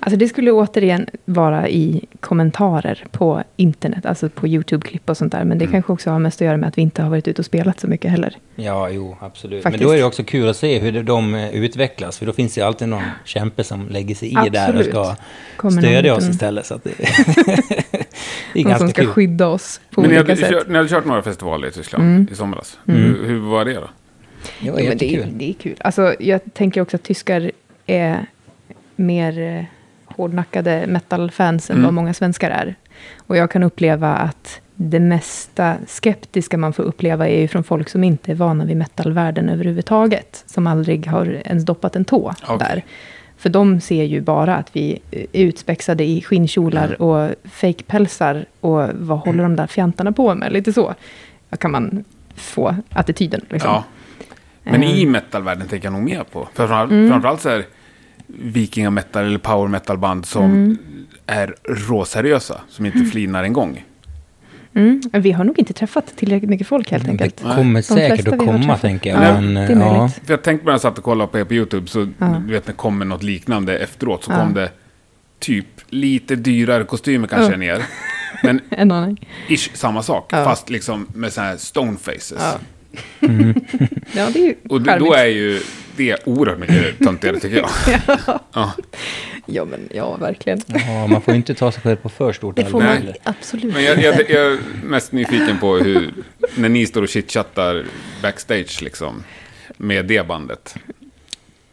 Alltså det skulle återigen vara i kommentarer på internet, alltså på YouTube-klipp och sånt där. Men det kanske också har mest att göra med att vi inte har varit ute och spelat så mycket heller.
Ja, jo, absolut.
Faktiskt.
Men då är det också kul att se hur de eh, utvecklas, för då finns det ju alltid någon kämpe som lägger sig i där och
Absolut.
ska
Kommer någon
stödja oss
liten-
istället. Så att det, det är
Någon som
ganska
ska
kul.
skydda oss på
Men ni
olika
hade,
sätt. Mm.
kört, ni hade kört några festivaler i Tyskland i somras. Hur, hur var det då?
Det var
Ja, men det, är,
jättekul.
det är kul. Alltså, jag tänker också att tyskar är mer eh, hårdnackade metal-fans än
Mm.
vad många svenskar är. Och jag kan uppleva att det mesta skeptiska man får uppleva är ju från folk som inte är vana vid metalvärlden överhuvudtaget. Som aldrig har ens doppat en tå
Okej.
där. För de ser ju bara att vi eh, är utspexade i skinnkjolar
Mm.
och fejkpälsar. Och vad håller de där fjantarna på med? Lite så kan man få attityden. Liksom. Mm.
Ja. Men i metalvärlden tänker jag nog mer på. För framförallt, framförallt så här vikingametal eller power metal-band som
Mm.
är råseriösa, som inte flinar en gång.
Mm, vi har nog inte träffat tillräckligt mycket folk helt enkelt.
Det kommer säkert
flesta
att
vi har
komma,
träffat.
tänker jag.
Ja,
men,
det är
eh, ja,
möjligt.
För jag tänkte på när jag satt och kollade på er på YouTube, så du vet när det kommer något liknande efteråt, så kom det typ lite dyrare kostymer kanske än er. Men
En aning.
ish samma sak, fast liksom med sådana här stonefaces.
Ja, det är ju
Och det,
charmigt.
då är ju det oerhört mycket töntigare tycker jag.
Ja, men ja, verkligen.
ja, man får ju inte ta sig själv på för stort
Det får
allvar.
man
heller.
absolut
Men jag, jag,
inte.
jag är mest nyfiken på hur, när ni står och chitchattar backstage liksom, med det bandet?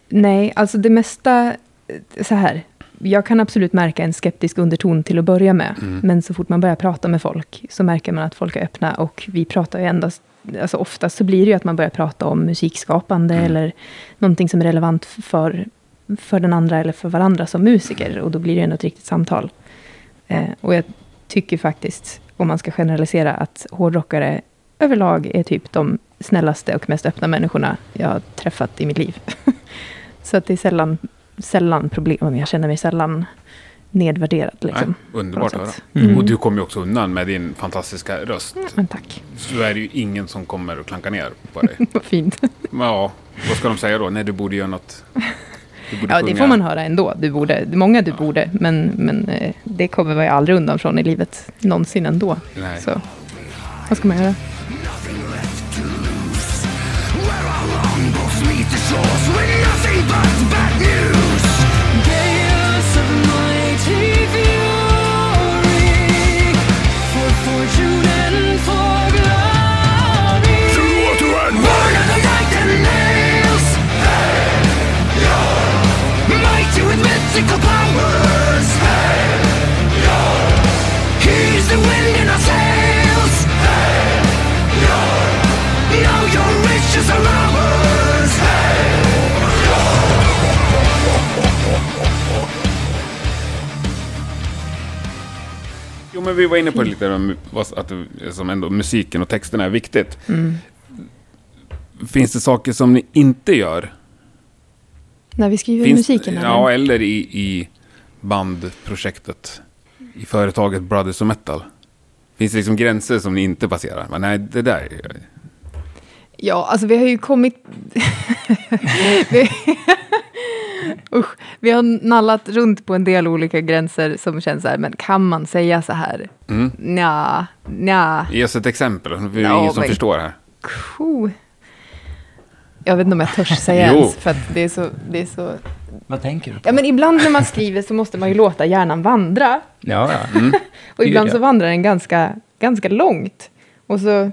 Nej, alltså det mesta, eh, så här, jag kan absolut märka en skeptisk underton till att börja med,
Mm.
men så fort man börjar prata med folk så märker man att folk är öppna och vi pratar ju endast Alltså oftast så blir det ju att man börjar prata om musikskapande
Mm.
eller någonting som är relevant för, för den andra eller för varandra som musiker. Och då blir det ju ändå ett riktigt samtal. Eh, och jag tycker faktiskt, om man ska generalisera, att hårdrockare överlag är typ de snällaste och mest öppna människorna jag har träffat i mitt liv. så att det är sällan, sällan problem, jag känner mig sällan nedvärderad. Liksom,
Nej, underbart
på
att höra.
något sätt. Mm.
Och du kommer ju också undan med din fantastiska röst.
Men tack,
Så är det ju ingen som kommer och klankar ner på dig.
vad fint.
Men ja, vad ska de säga då? Nej, du borde göra något. Du borde
Ja, det
sjunga.
får man höra ändå. Du borde, många du borde, men, men eh, det kommer man ju aldrig undan från i livet någonsin ändå.
Nej.
Så vad ska man göra?
Mythical powers! He's the wind in our sails! Now your riches are ours!
Jo, men vi var inne på det lite, om vad- att det- som ändå musiken och texten är viktigt.
Mm.
Finns det saker som ni inte gör?
När vi skriver
Finns,
musiken? eller?
Ja, eller i, i bandprojektet. I företaget Brothers of Metal. Finns det liksom gränser som ni inte passerar? Men nej, det där...
Ja, alltså vi har ju kommit... vi... Usch, vi har nallat runt på en del olika gränser som känns så här, men kan man säga så här?
Mm.
Nja, nja,
Ge oss ett exempel, för det är
Ja,
ingen som
men-
förstår här.
ko. Jag vet inte om jag törs säga
Jo.
ens, för att det är så... Det är så...
Vad tänker du på?
Ja, men ibland när man skriver så måste man ju låta hjärnan vandra.
Ja, ja.
Mm. Och
Det
ibland
gör jag.
så vandrar den ganska, ganska långt. Och så,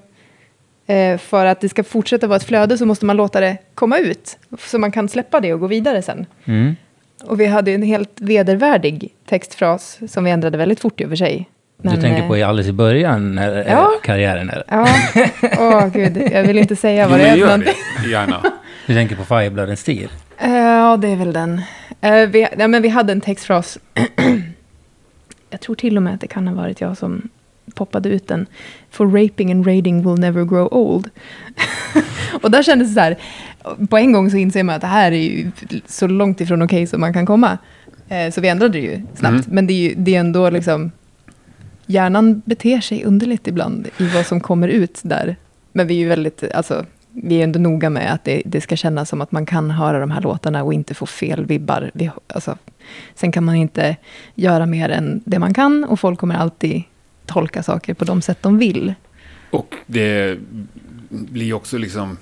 eh, för att det ska fortsätta vara ett flöde så måste man låta det komma ut. Så man kan släppa det och gå vidare sen.
Mm.
Och vi hade ju en helt vedervärdig textfras som vi ändrade väldigt fort i och för sig.
Du
Men,
tänker
eh,
på i alldeles i början när, eh,
Ja.
karriären? Här.
Ja, åh gud, jag vill inte säga
Jo,
vad det är
men
för
gör
någonting.
det. Gärna.
Du tänker på Firebloodens stil?
Eh, Ja, det är väl den. Eh, vi, nej, men vi hade en textfras. jag tror till och med att det kan ha varit jag som poppade ut den. For raping and raiding will never grow old. och där kändes det så här, på en gång så inser man att det här är ju så långt ifrån okej som man kan komma. Eh, så vi ändrade det ju snabbt. Men det är ju det är ändå liksom, hjärnan beter sig underligt ibland i vad som kommer ut där. Men vi är ju väldigt, alltså, vi är ändå noga med att det, det ska kännas som att man kan höra de här låtarna och inte få fel vibbar. Vi, alltså, sen kan man inte göra mer än det man kan och folk kommer alltid tolka saker på de sätt de vill.
Och det blir också liksom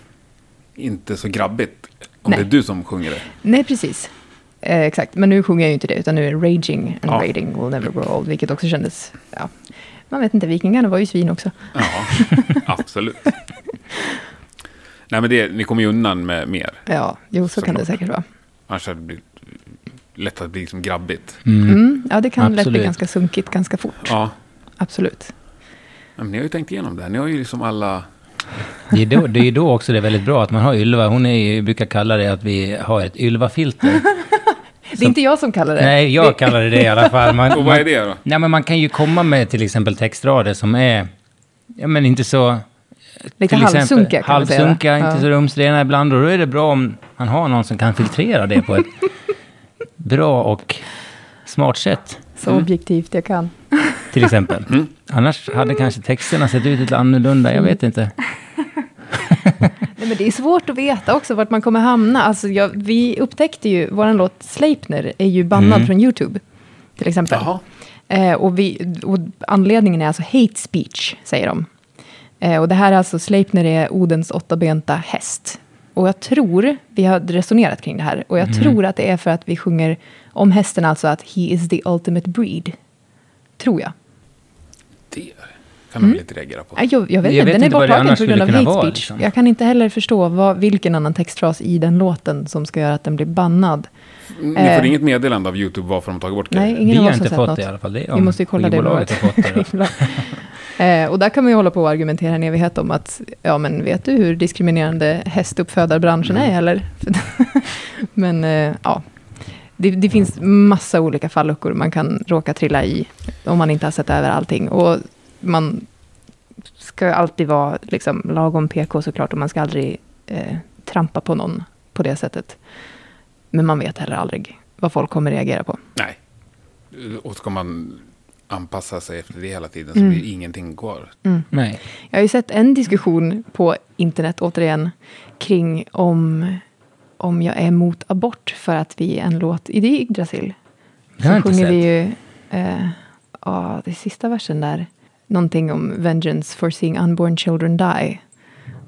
inte så grabbigt om
Nej.
det är du som sjunger det.
Nej, precis. Eh, exakt, men nu sjunger jag ju inte det, utan nu är det Raging and
Ja.
Raiding will never grow old, vilket också kändes, ja. Man vet inte, vikingarna var ju svin också.
Ja, absolut. Nej, men det, ni kommer ju undan med mer.
Ja, jo, så kan det
Såklart.
säkert vara.
Annars hade det blivit lätt att bli liksom grabbigt.
Mm. Ja, det kan lätt bli
Absolut.
ganska sunkigt ganska fort.
Ja,
Absolut.
men ni har ju tänkt igenom det. här. Ni har ju liksom alla...
Det är, då, det är ju då också det är väldigt bra att man har Ylva. Hon är ju, brukar kalla det att vi har ett Ylva-filter.
Det är inte jag som kallar det.
Nej, jag kallar det det i alla fall. Man,
Och vad är
man-
det då?
Nej, men man kan ju komma med till exempel textrader som är, ja men inte så...
Lite
till exempel
halvsunkiga kan man säga.
Halvsunkiga, inte
Ja.
så rumsrena ibland. Och då är det bra om man har någon som kan filtrera det på ett bra och smart sätt.
Så objektivt jag kan.
Till exempel.
Mm.
Annars hade kanske texterna sett ut lite annorlunda, jag vet inte.
Nej, men det är svårt att veta också vart man kommer hamna. Alltså, jag, vi upptäckte ju, vår låt Sleipner är ju bannad från YouTube, till exempel. Eh, och, vi, och anledningen är alltså hate speech, säger de. Eh, och det här är alltså, Sleipner är Odens åttabenta häst. Och jag tror, vi har resonerat kring det här, och jag tror att det är för att vi sjunger om hästen, alltså att he is the ultimate breed. Tror jag.
Det. kan man väl inte reagera på.
Nej, Jag, jag vet
Jag
inte,
vet
den
inte
är
vad det
borttagen
annars
på grund av
skulle kunna
hate
vara,
speech.
liksom.
Jag kan inte heller förstå vad, vilken annan textfras i den låten som ska göra att den blir bannad.
Ni får
eh.
inget meddelande av YouTube varför de har tagit bort
Nej,
grejer.
ingen
Vi
av
har
oss har
inte
sett
fått
något.
det i alla fall. Det är
Vi
om
måste ju kolla det.
skivbolaget
nu.
har fått det då.
Eh, och där kan man ju hålla på och argumentera en evighet om att, ja men vet du hur diskriminerande hästuppfödarbranschen
Mm.
är eller? men eh, ja, det, det finns massa olika falluckor man kan råka trilla i om man inte har sett över allting. Och man ska alltid vara liksom, lagom PK såklart och man ska aldrig eh, trampa på någon på det sättet. Men man vet heller aldrig vad folk kommer reagera på.
Nej. Och ska man anpassa sig efter det hela tiden så
Mm.
blir ingenting kvar.
Nej.
Jag har ju sett en diskussion på internet återigen kring om, om jag är emot abort för att vi är en låt i det är Yggdrasil.
Det har jag
Så
inte
sjunger
sett.
vi ju, eh, ja, det är sista versen där, någonting om vengeance for seeing unborn children die.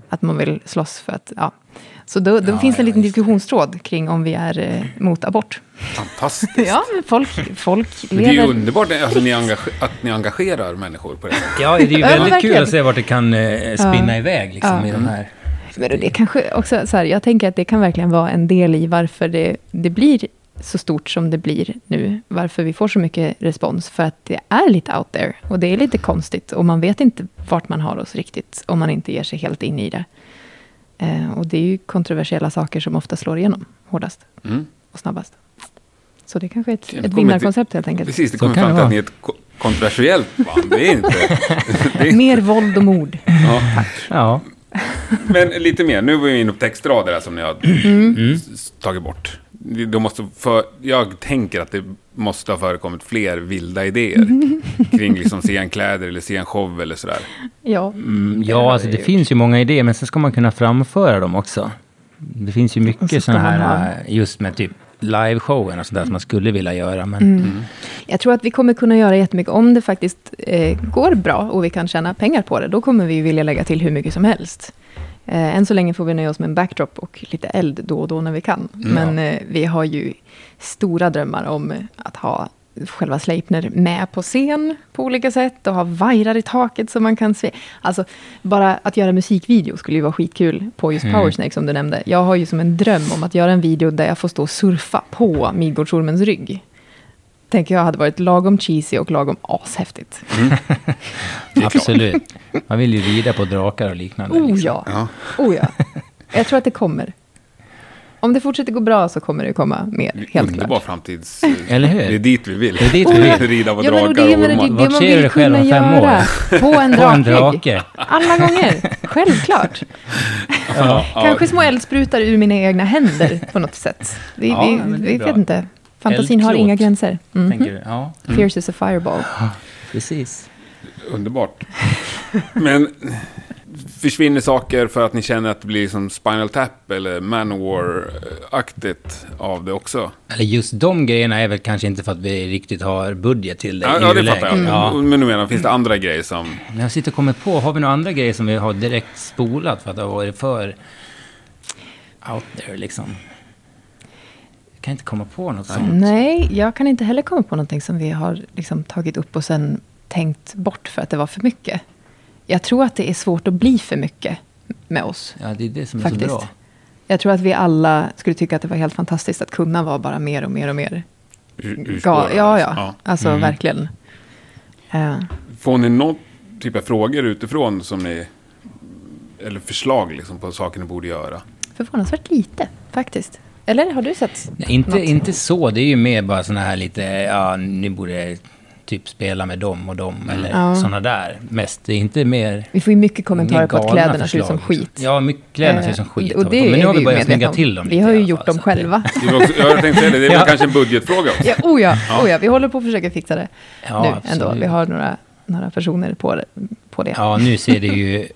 Att man vill slåss för att, ja. Så då, då
Ja,
finns det en
ja,
liten
just det.
diskussionstråd kring om vi är eh, mot abort.
Fantastiskt.
Ja, men folk, folk
Men det är ju
lever...
underbart alltså, ni engage- att ni engagerar människor på det sättet.
Ja, det är ju
Ja,
väldigt
verkligen.
kul att se vart det kan eh, spinna iväg liksom, i de här.
Men det kanske också, så här, jag tänker att det kan verkligen vara en del i varför det, det blir så stort som det blir nu. Varför vi får så mycket respons. För att det är lite out there. Och det är lite konstigt. Och man vet inte vart man har oss riktigt. Om man inte ger sig helt in i det. Eh, och det är ju kontroversiella saker som ofta slår igenom hårdast. Och snabbast. Så det kanske är ett,
Kommer
ett
till-
vinnarkoncept helt enkelt.
Precis, det
Så
kommer
kan
fram
det
till att
vara.
ni är ett ko- kontroversiellt band. Det är inte...
Mer våld och mord.
Ja.
Ja.
Men lite mer, nu var vi inne på textrader här som ni har
Mm.
s- tagit bort. Då måste för, jag tänker att det måste ha förekommit fler vilda idéer kring liksom scenkläder eller scenshow eller sådär.
Ja.
Mm, ja, alltså det finns ju många idéer, men sen ska man kunna framföra dem också. Det finns ju
Och så
mycket
ska
sådana
man
här, eh, just med typ liveshowen och sådär som man skulle vilja göra, men
Mm.
Mm.
Jag tror att vi kommer kunna göra jättemycket om det faktiskt eh, går bra och vi kan tjäna pengar på det. Då kommer vi ju vilja lägga till hur mycket som helst. Eh, än så länge får vi nöja oss med en backdrop och lite eld då och då när vi kan. Men eh, vi har ju stora drömmar om att ha själva Sleipner med på scen på olika sätt och ha vajrar i taket som man kan se. Alltså, bara att göra musikvideo skulle ju vara skitkul på just Powersnake som du nämnde. Jag har ju som en dröm om att göra en video där jag får stå och surfa på Midgårdsormens rygg tänker jag hade varit lagom cheesy och lagom ashäftigt.
absolut. Man vill ju rida på drakar och liknande.
Oh
liksom.
ja. oh ja. Jag tror att det kommer. Om det fortsätter gå bra så kommer det komma mer, helt
Underbar
klart.
framtids...
Eller hur?
Det är dit vi vill.
Det är dit
Oh,
vi
ja.
vill.
Rida på
Ja, men och
drakar och
men
ormar.
det
Vart
man
ser du
vill
dig själv
kunna
om fem
göra. På en
På en
drake.
drake.
Alla gånger. Självklart. Kanske små eldsprutar ur mina egna händer på något sätt. Vi,
Ja,
vi,
men det är
vi
bra.
vet inte. Fantasin har
Eldklot.
inga gränser. Mm.
Tänker du? Ja,
Fierce as a fireball.
precis.
Underbart. Men försvinner saker för att ni känner att det blir som Spinal Tap eller Manowar-aktigt av det också?
Eller just de grejerna är väl kanske inte för att vi riktigt har budget till det
Ja,
i
ja det
nuläget.
fattar jag.
Mm.
Ja.
Men nu menar finns det andra grejer som...
Men Jag sitter och kommer på, har vi några andra grejer som vi har direkt spolat för att det har varit för out there liksom? Jag kan inte komma på något sånt.
Nej, jag kan inte heller komma på någonting som vi har liksom tagit upp och sen tänkt bort för att det var för mycket. Jag tror att det är svårt att bli för mycket med oss.
Ja, det är det som är
Faktiskt.
Mm, så bra.
Jag tror att vi alla skulle tycka att det var helt fantastiskt att kunna vara bara mer och mer och mer.
ur-
Ga-
urspårar,
ja,
alltså.
ja. Alltså verkligen. Eh,
Får ni någon typ av frågor utifrån som ni... Eller förslag liksom på saker ni borde göra?
förvånansvärt lite, faktiskt. Eller har du sett?
Ja, inte,
något?
inte så, det är ju mer bara såna här lite, ja, ni borde typ spela med dem och dem eller
Mm. Ja.
såna där mest. Det är inte mer...
Vi får ju mycket kommentarer
inga
på att
galna
kläderna ser ut som
förslag. liksom.
skit.
Ja, mycket kläderna ser ut som skit.
Eh, Och det
men nu
är
har
vi
vi
ju
börjat
medvetna
snygga
om.
till dem
Vi
lite alltså.
har
i
ju
alla
gjort
fall,
dem
så att det-
själva.
Det var också, jag tänkte säga det, det är väl kanske en budgetfråga också.
Ja, oh ja, oh ja, vi håller på att försöka fixa det
Ja,
nu ändå.
absolut.
Vi har några, några personer på det. På det.
Ja, nu ser det ju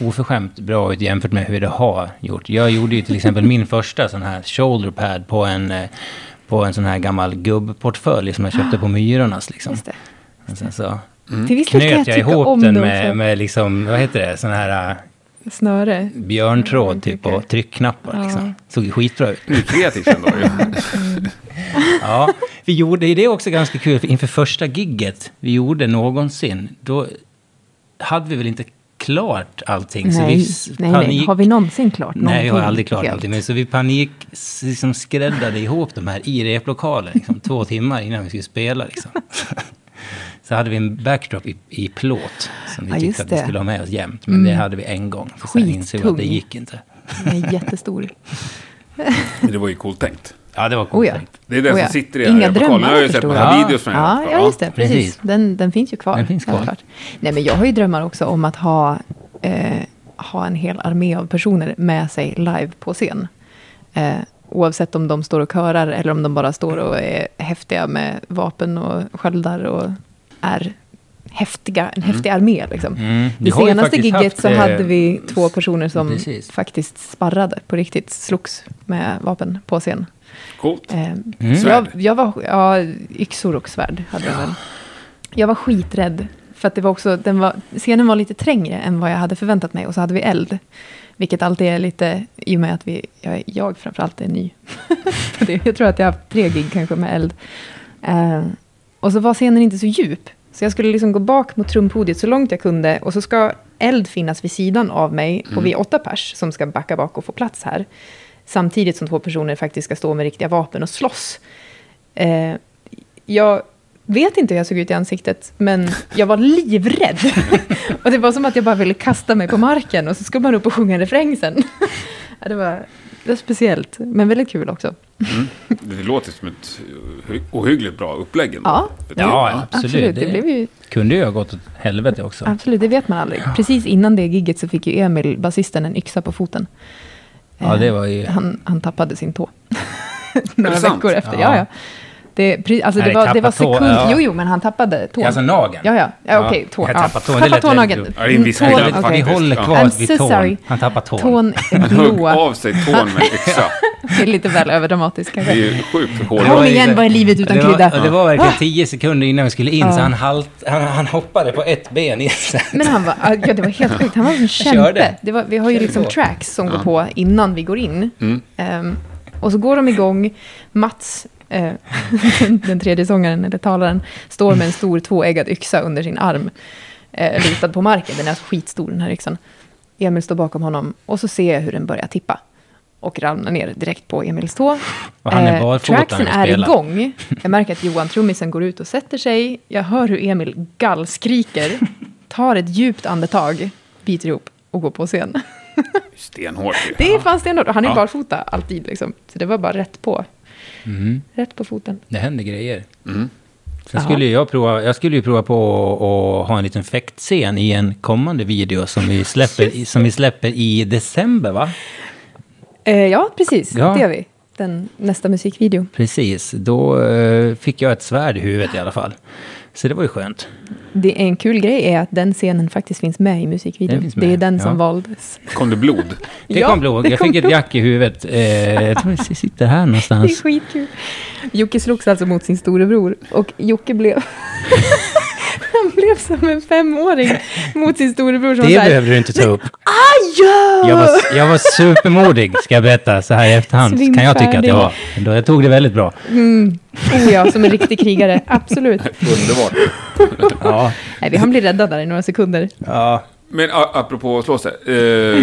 oförskämt bra ut jämfört med hur det har gjort. Jag gjorde ju till exempel min första sån här shoulder pad på en, eh, på en sån här gammal gubbportfölj som jag köpte på Myrornas. Liksom.
Ah, Just det. Mm.
Men Sen så
Till viss del kan
knöt jag
tycka om
ihop den
det
med,
också.
med liksom, vad heter det, sån här eh,
Snöre.
björntråd typ och tryckknappar. Liksom. Såg ju skitbra ut.
Nu är det kreativt ändå. ju.
Ja, vi gjorde ju det också ganska kul för inför första gigget vi gjorde någonsin. Då hade vi väl inte klart allting. så vi
Nej,
s-
nej, nej. Har vi någonsin klart
Nej, vi har
någonting
aldrig klart
helt?
allting. Men så vi panik s- liksom skräddade ihop de här i replokalen, liksom, två timmar innan vi skulle spela. Liksom. Så hade vi en backdrop i, i plåt som vi
Ja,
tyckte
just
att vi
det. Mm.
skulle ha med oss jämt. Men det hade vi en gång. Så sen insåg vi att det
Skittung.
gick inte.
Den är jättestor.
Men det var ju coolt tänkt.
Ja, det var coolt.
Oh ja.
Det är den
oh
som
ja.
sitter i den
Inga
här replokalen.
drömmar
Jag har ju sett
förstår
på här
jag.
videos från den här
ja,
replokalen.
ja, just det. Precis.
Precis.
Den, den finns ju kvar.
Den finns kvar.
självklart. Nej, men jag har ju drömmar också om att ha, eh, ha en hel armé av personer med sig live på scen. Eh, oavsett om de står och körar eller om de bara står och är häftiga med vapen och sköldar och är häftiga, en häftig armé. Liksom.
Mm. Vi
Det
har ju
senaste
faktiskt
gigget
haft,
så
eh,
hade vi två personer som
precis.
faktiskt sparrade på riktigt, slogs med vapen på scen.
Coolt.
Eh,
Svärd.
jag, jag var, ja, yxor och svärd hade jag väl. Jag var skiträdd. För att det var också, den var, scenen var lite trängre än vad jag hade förväntat mig. Och så hade vi eld. Vilket alltid är lite, i och med att vi, jag, jag framförallt är ny. För det- jag tror att jag har haft tre gig kanske med eld. Eh, och så var scenen inte så djup. Så jag skulle liksom gå bak mot trumpodiet så långt jag kunde. Och så ska eld finnas vid sidan av mig. Och vi är åtta pers som ska backa bak och få plats här. Samtidigt som två personer faktiskt ska stå med riktiga vapen och slåss. Eh, jag vet inte hur jag såg ut i ansiktet, men jag var livrädd. och det var som att jag bara ville kasta mig på marken och så skulle man upp och sjunga en refräng sen. ja, det, var, det var speciellt, men väldigt kul också.
Det låter som ett eh, ohyggligt bra upplägg ändå.
Ja.
För
Ja, absolut.
det, blev ju,
kunde ju ha gått åt helvete också.
absolut, det vet man aldrig. Precis innan det gigget så fick ju Emil, basisten, en yxa på foten.
Ja,
Eh,
det var ju...
han, han tappade sin tå. Några
det sant?
veckor efter. Ja,
Ja.
ja. Det, pre- alltså
Nej,
det, var,
tappa
det var
tå,
sekund...
ja.
Jo, jo, men han tappade tån.
Alltså nageln.
Ja, ja. ja Okej,
Ja,
tån.
jag
Ja.
tappar tån, det lät
tånageln.
väldigt
Ja, det är en viss
Tån,
skillnad
okej.
Vi
faktiskt.
håller
Ja.
kvar
I'm
vid
so
tån.
sorry.
Han tappar tån.
Tån är
Hugg
blå.
av sig tån med en yxa.
Det är lite väl överdramatiskt
Det är
kanske.
ju sjukt hårt.
Det var
Kom
ju-
igen, vad är livet utan
det var,
krydda? Ah!
och Det var verkligen tio sekunder innan vi skulle in, så han, halt, han, han hoppade på ett ben i
Men han var, ja, det var helt sjukt. Han var en
Körde.
kämpe. Det var, vi har ju
Körde
liksom
på.
tracks som går på innan vi går in.
Mm.
Ehm, och så går de igång. Mats, eh, den- den tredje sångaren, eller talaren, står med en stor tvåeggad yxa under sin arm. Eh, lutad på marken. Den är alltså skitstor, den här yxan. Emil står bakom honom och så ser jag hur den börjar tippa. Och ramlar ner direkt på Emils tå.
Och han är barfota när
tracksen
han
Eh, är
spelar.
igång gång. Jag märker att Johan, trummisen, går ut och sätter sig. Jag hör hur Emil gallskriker, tar ett djupt andetag, biter ihop och går på scen.
Stenhårt ju.
Det är fan stenhårt. Och Han är
Ja.
barfota alltid, liksom. så det var bara rätt på.
Mm.
Rätt på foten.
Det händer grejer. Sen skulle ju jag, prova, jag skulle ju prova på att- att ha en liten fäktscen i en kommande video som vi släpper, i- som vi släpper i december, va?
Eh, ja, precis.
Ja.
Det gör vi. Den, nästa musikvideo.
Precis, då eh, fick jag ett svärd i huvudet i alla fall. Så det var ju skönt.
Det är en kul grej är att den scenen faktiskt finns med i musikvideon.
Den finns
Det är
med,
den som
ja.
valdes.
Kom det blod?
Det
Ja,
kom blod.
det
Jag
kom
fick ett
blod.
jack i huvudet. Eh, jag tror det sitter här
Det är
någonstans.
skitkul. Jocke slogs alltså mot sin storebror och Jocke blev... han blev som en femåring mot sin storebror som
Det
så här,
behöver du inte ta upp.
Aj!
Jag var, jag var supermodig, ska jag berätta, så här i efterhand. Kan jag tycka att jag var. Då- Jag tog det väldigt bra.
Oh ja, som en riktig krigare. Absolut.
Underbart.
Ja,
Nej, vi han blir räddad där i några sekunder.
ja.
Men a- apropå att slå sig. Eh,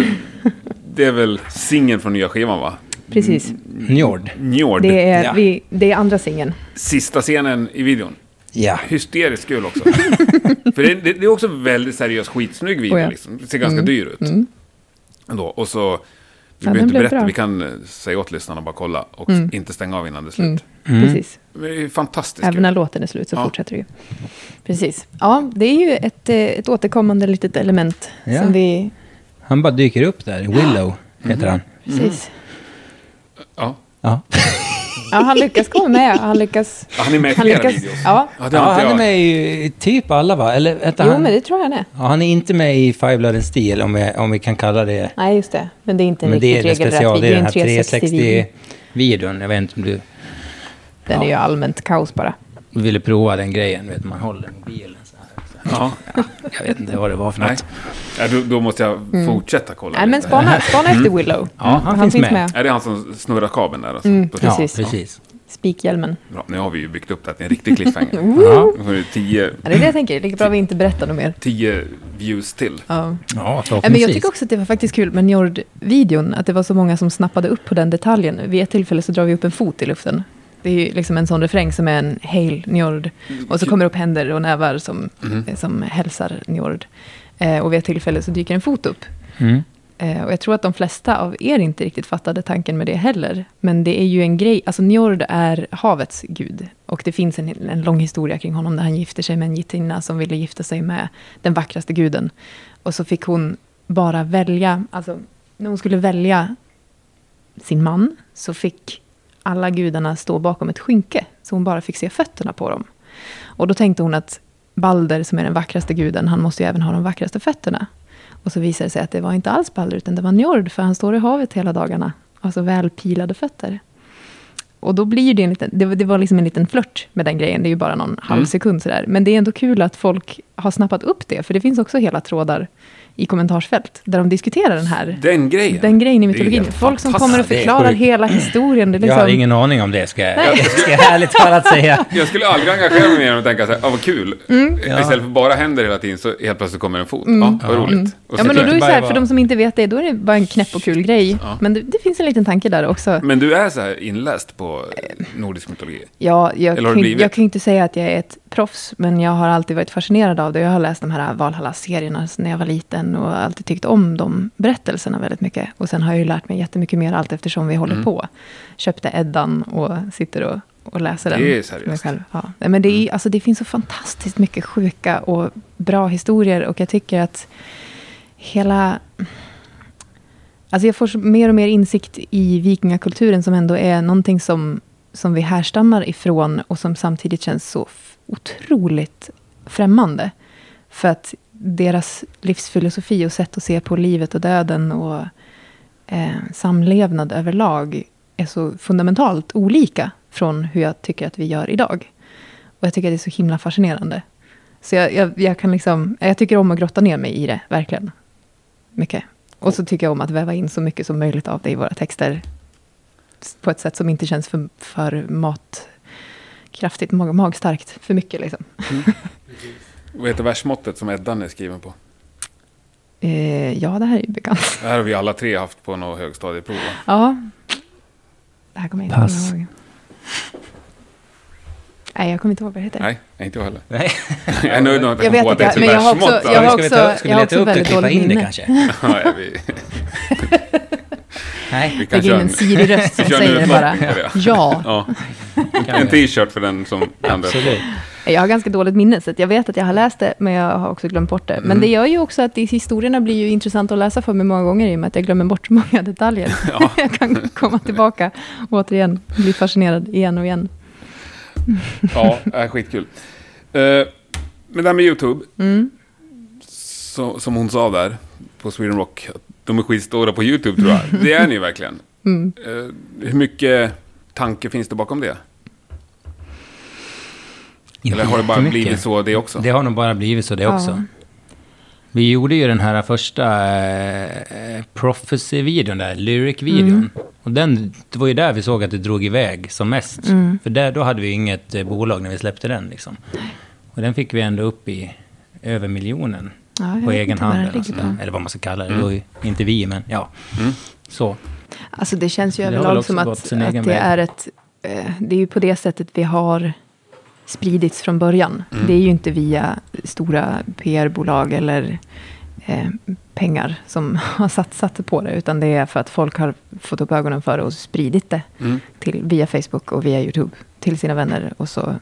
det är väl singeln från nya skivan va?
Precis.
Mm. Njord.
Njord.
Det är,
Ja.
vi, det är andra singeln.
Sista scenen i videon.
Ja.
Hysteriskt kul också. För det, det, det är också väldigt seriös, skitsnygg video.
Oh ja. Mm.
liksom. Det ser ganska dyr ut. Ändå. Och så, vi
Ja,
behöver
den
inte
blev
berätta,
bra. Mm.
vi kan eh, säga åt lyssnarna att bara kolla och inte stänga av innan det är slut.
Mm.
Precis.
Men det är ju fantastiskt
Mm. Även
kul.
när låten är slut så
Ja.
fortsätter det ju. Precis. Ja, det är ju ett, eh, ett återkommande litet element
Ja. Mm.
som vi...
Han bara dyker upp där. Willow heter han.
Precis.
Ja.
Ja.
Ja, han lyckas komma med. Han lyckas...
Ja, Han är med i
Han
flera
lyckas
videos.
ja.
Ja, det
ja,
har inte
han är
jag.
med i typ alla va? Eller vänta,
Jo,
han,
men det tror jag han är.
ja, han är inte med i Five Blood and Steel om vi, om vi kan kalla det.
Nej, just det. Men det är inte en
Men det är
riktigt
det
regelrätt
special, det
video.
är
Det är en
den här
360.
360-videon. Jag vet inte om du
Den är ju allmänt kaos bara.
ville prova den grejen, vet man håller mobilen så här.
Ja.
Jag vet inte vad det var för
Nej.
något.
Ja, då, då måste jag fortsätta kolla.
Mm. Nej, men
lite.
spana, spana efter Willow.
Ja, han finns med.
Mm.
Är det han som snurrar kabeln där? Alltså, på
precis.
Ja, precis.
Spikhjälmen.
Bra, nu har vi ju byggt upp det här till en riktig cliffhanger.
Ja.
Nu får vi tio,
Ja, det är det jag tänker. Lika bra vi inte berättar något mer.
tio views till.
Ja.
Ja,
Nej, Men jag
förhoppningsvis.
tycker också att det var faktiskt kul med Njord-videon, att det var så många som snappade upp på den detaljen. Vid ett tillfälle så drar vi upp en fot i luften. Det är ju liksom en sån refräng som är en Hail Njord. Och så kommer det upp händer och nävar som,
Mm.
som hälsar Njord. Eh, och vid ett tillfälle så dyker en fot upp. Eh, och jag tror att de flesta av er inte riktigt fattade tanken med det heller. Men det är ju en grej, alltså Njord är havets gud. Och det finns en, en lång historia kring honom där han gifter sig med en gittinna som ville gifta sig med den vackraste guden. Och så fick hon bara välja, alltså när hon skulle välja sin man så fick alla gudarna stå bakom ett skynke, så hon bara fick se fötterna på dem. Och då tänkte hon att Balder, som är den vackraste guden, han måste ju även ha de vackraste fötterna. Och så visade det sig att det var inte alls Balder, utan det var Njord, för han står i havet hela dagarna. Alltså välpilade fötter. Och då blir det en liten, det, var- det var liksom en liten flört med den grejen, det är ju bara någon halv sekund sådär. Men det är ändå kul att folk har snappat upp det, för det finns också hela trådar i kommentarsfält, där de diskuterar den här
Den grejen.
den grejen i
Det är ju
mytologin.
helt
Folk som
fantastiskt.
kommer och
det är
förklarar
sjukt.
hela historien. Det är
Jag
liksom,
har ingen aning om det, ska jag, ska jag ärligt talat säga.
Jag skulle aldrig engagera mig mer än att tänka så här, ah, vad kul.
Mm.
Istället för bara händer hela tiden så helt plötsligt kommer en fot. Ja, vad roligt. Och
Mm. ja,
så
men då är
klart.
det så här,
bara-
för de som inte vet det, då är det bara en knäpp och kul grej. Men det, det finns en liten tanke där också.
men du är så här inläst på eh, nordisk mytologi?
Ja, jag,
Eller
kan,
har det
ju-
blivit?
jag kan ju inte säga att jag är ett proffs, men jag har alltid varit fascinerad av det. Jag har läst de här Valhalla-serierna när jag var liten och alltid tyckt om de berättelserna väldigt mycket. Och sen har jag ju lärt mig jättemycket mer allt eftersom vi håller
Mm.
på. Köpte Eddan och sitter och, och läser den.
Det är
för mig
seriöst. Mm.
själv. Ja. Nej, Men det, är, alltså, det finns så fantastiskt mycket sjuka och bra historier och jag tycker att hela Alltså jag får så- mer och mer insikt i vikingakulturen som ändå är någonting som, som vi härstammar ifrån och som samtidigt känns så f- otroligt främmande. För att deras livsfilosofi och sätt att se på livet och döden och eh, samlevnad överlag är så fundamentalt olika från hur jag tycker att vi gör idag. Och jag tycker att det är så himla fascinerande. Så jag, jag, jag kan liksom, jag tycker om att grotta ner mig i det, verkligen. Mycket. Och så tycker jag om att väva in så mycket som möjligt av det i våra texter. S- På ett sätt som inte känns för, för mat, kraftigt mag, magstarkt, för mycket liksom.
Vad heter versmåttet som Eddan är skriven på?
Eh, ja, det här är ju bekant.
Det här har vi alla tre haft på något högstadieprov. va?
Ja. Det här kommer jag inte
Pass.
ihåg. Nej, jag kommer inte ihåg vad det heter.
Nej, inte jag heller.
Nej.
Jag är nöjd med att
Jag
jag
vet
kom på att
inte,
det heter
men jag har också-
versmått.
jag
ja.
har
ska vi ta,
också-
ska
jag
vi
har också
leta upp det och
väldigt
klippa
dåligt
in det
minne.
kanske?
Ja, vi, vi
Nej,
kan
Lägger
köra
in
en,
en sidig röst som
vi kör en
säger det bara.
utlottning på det.
Ja.
Ja,
det
en
kan vi.
t-shirt för den som kan det.
Absolut.
Jag har ganska dåligt minne, så att jag vet att jag har läst det, men jag har också glömt bort det. Men det gör ju också att de- historierna blir ju intressanta att läsa för mig många gånger, i och med att jag glömmer bort så många detaljer. jag kan komma tillbaka och återigen bli fascinerad igen och igen.
Ja, äh, skitkul. Eh, Men det här med YouTube,
Mm.
så, som hon sa där på Sweden Rock, att de är skitstora på YouTube tror jag. Det är ni verkligen.
Mm.
Eh, Hur mycket tanke finns det bakom det? Eller har det bara
Jättemycket.
blivit så det också?
Det har nog bara blivit så det
Ja.
också. Vi gjorde ju den här första eh, Prophecy-videon där, Lyric-videon.
Mm.
Och den, det var ju där vi såg att det drog iväg som mest.
Mm.
För där, då hade vi inget eh, bolag när vi släppte den liksom. Och den fick vi ändå upp i över miljonen
Ja, jag
på
vet
egen
inte vad
hand.
den
Eller, något
ligger
sånt där. eller vad man ska kalla det. Det var ju inte vi, men ja. Så.
Alltså det känns ju
Det har väl
överlag
också
som
gått
att,
sin
att
egen
det
väg.
är ett... eh, Det är ju på det sättet vi har spridits från början. Det är ju inte via stora PR-bolag eller eh, pengar som har satsat på det, utan det är för att folk har fått upp ögonen för det och spridit det till, via Facebook och via YouTube till sina vänner. Och så,